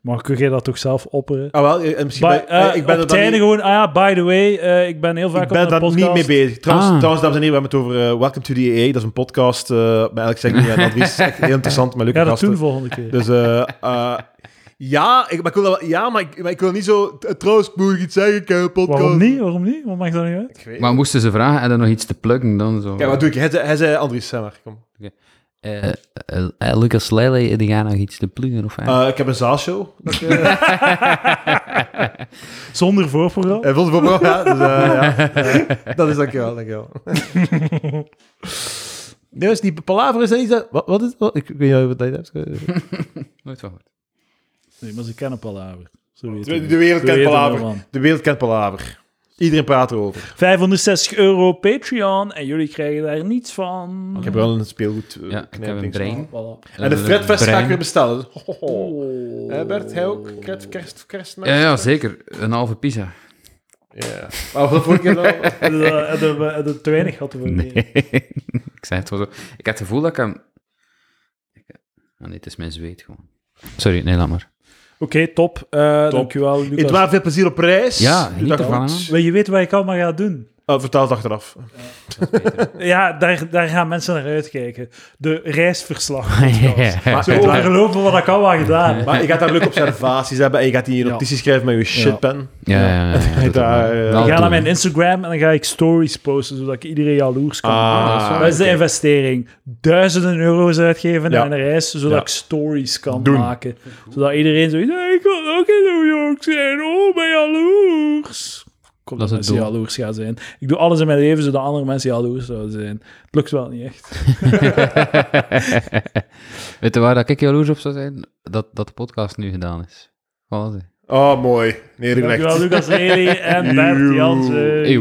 S1: Maar kun jij dat toch zelf opperen?
S3: Ah, wel, eh, en misschien
S1: Bij-
S3: ben, eh,
S1: eh,
S3: ik ben
S1: op
S3: er
S1: het
S3: dan
S1: einde
S3: niet,
S1: gewoon, ah ja, by the way, eh, ik ben heel vaak
S3: ik ben
S1: op een
S3: daar
S1: podcast.
S3: niet mee bezig. Trouwens,
S4: Ah.
S3: trouwens, dames en heren, we hebben het over eh, Welcome to the EA. Dat is een podcast eh bij Alex Zegni en Advies. Echt heel interessant, maar leuke
S1: Ja, dat
S3: gasten.
S1: doen we volgende keer.
S3: Dus eh, eh, ja, ik, maar ik wil, dat wel- ja, maar ik, maar ik wil niet zo... eh, Trouwens, moet ik iets zeggen? Ik heb een podcast.
S1: Waarom niet? Waarom niet? Wat maakt dat niet uit?
S3: Ik weet
S4: Maar moesten ze vragen en dan nog iets te pluggen dan zo?
S3: Kijk, wat doe ik? Hij, zei- hij zei Andries, zeg maar. Kom.
S4: Eh, eh, eh, Lucas Lely, die gaan nog iets te pluggen of eigenlijk?
S3: Eh, ik heb een zaalshow. Dat ik, eh,
S1: Zonder voorprogramma?
S3: Hij vond het wel ja. Dus, eh, ja. Eh, dat is dankjewel, dankjewel. Nee, is die palaver is dat niet... dat- Wat, wat is wat? Ik weet niet wat dat is.
S4: Nooit van gehoord.
S1: Nee, maar ze kennen Palaver. Zo weet
S3: De,
S1: ik.
S3: wereld
S1: Zo
S3: kent
S1: heet het
S3: palaver.
S1: allemaal.
S3: De wereld kent palaver. Iedereen praat erover.
S1: 560 euro Patreon en jullie krijgen daar niets van.
S3: Ik heb wel een speelgoed eh,
S4: Ja, ik heb een
S3: knijpdings.
S4: brein.
S1: Voilà.
S3: En de Fredfest ga ik
S4: Brein.
S3: weer bestellen. Dus- Ho, ho, ho. Eh, Bert, hij ook? Kerst, kerst, kerstmis?
S4: Ja, ja, zeker. Een halve pizza.
S3: Ja. Maar wat vorige keer dan?
S1: Hebben we- eh, Hebben we hebben we te weinig gehad voor
S4: ik zei het wel zo. Ik had het gevoel dat ik hem... Ik- Ah, nee, het is mijn zweet gewoon. Sorry, nee, laat maar.
S1: top. Eh, Dankjewel, Lucas.
S3: Het was veel plezier op reis.
S4: Ja,
S3: Doe dat
S4: niet ervan.
S3: goed.
S4: hè.
S1: Wil je weten wat ik allemaal ga doen?
S3: Eh, vertel het achteraf.
S1: Ja, daar, daar gaan mensen naar uitkijken. De reisverslag.
S3: Maar,
S1: Zo
S3: het waren-
S1: overlopen wat ik allemaal gedaan heb.
S3: maar je gaat daar leuke observaties hebben en je gaat die notities schrijven met je shitpen.
S4: Ja, ja, ja, ja.
S3: Daar, eh,
S4: Wel
S1: Ik ga
S4: doen.
S1: naar mijn Instagram en dan ga ik stories posten, zodat ik iedereen jaloers kan maken.
S3: Ah,
S1: dat is de investering. Duizenden euro's uitgeven
S3: Ja.
S1: aan een reis, zodat
S3: Ja.
S1: ik stories kan
S3: Doen.
S1: maken. Zodat iedereen zoiets... "Hey, ik wil ook in New York zijn. Oh, ben jaloers. Ik hoop
S4: Dat
S1: dat,
S4: is het
S1: mensen
S4: doel.
S1: jaloers gaan zijn. Ik doe alles in mijn leven zodat andere mensen jaloers zouden zijn. Het lukt wel niet echt.
S4: Weet je waar dat ik jaloers op zou zijn? Dat, dat de podcast nu gedaan is. Voilà, zie.
S3: Oh, mooi. Neergelegd.
S1: Dankjewel Lucas Lely en Bert Jansen.
S4: Eeuw.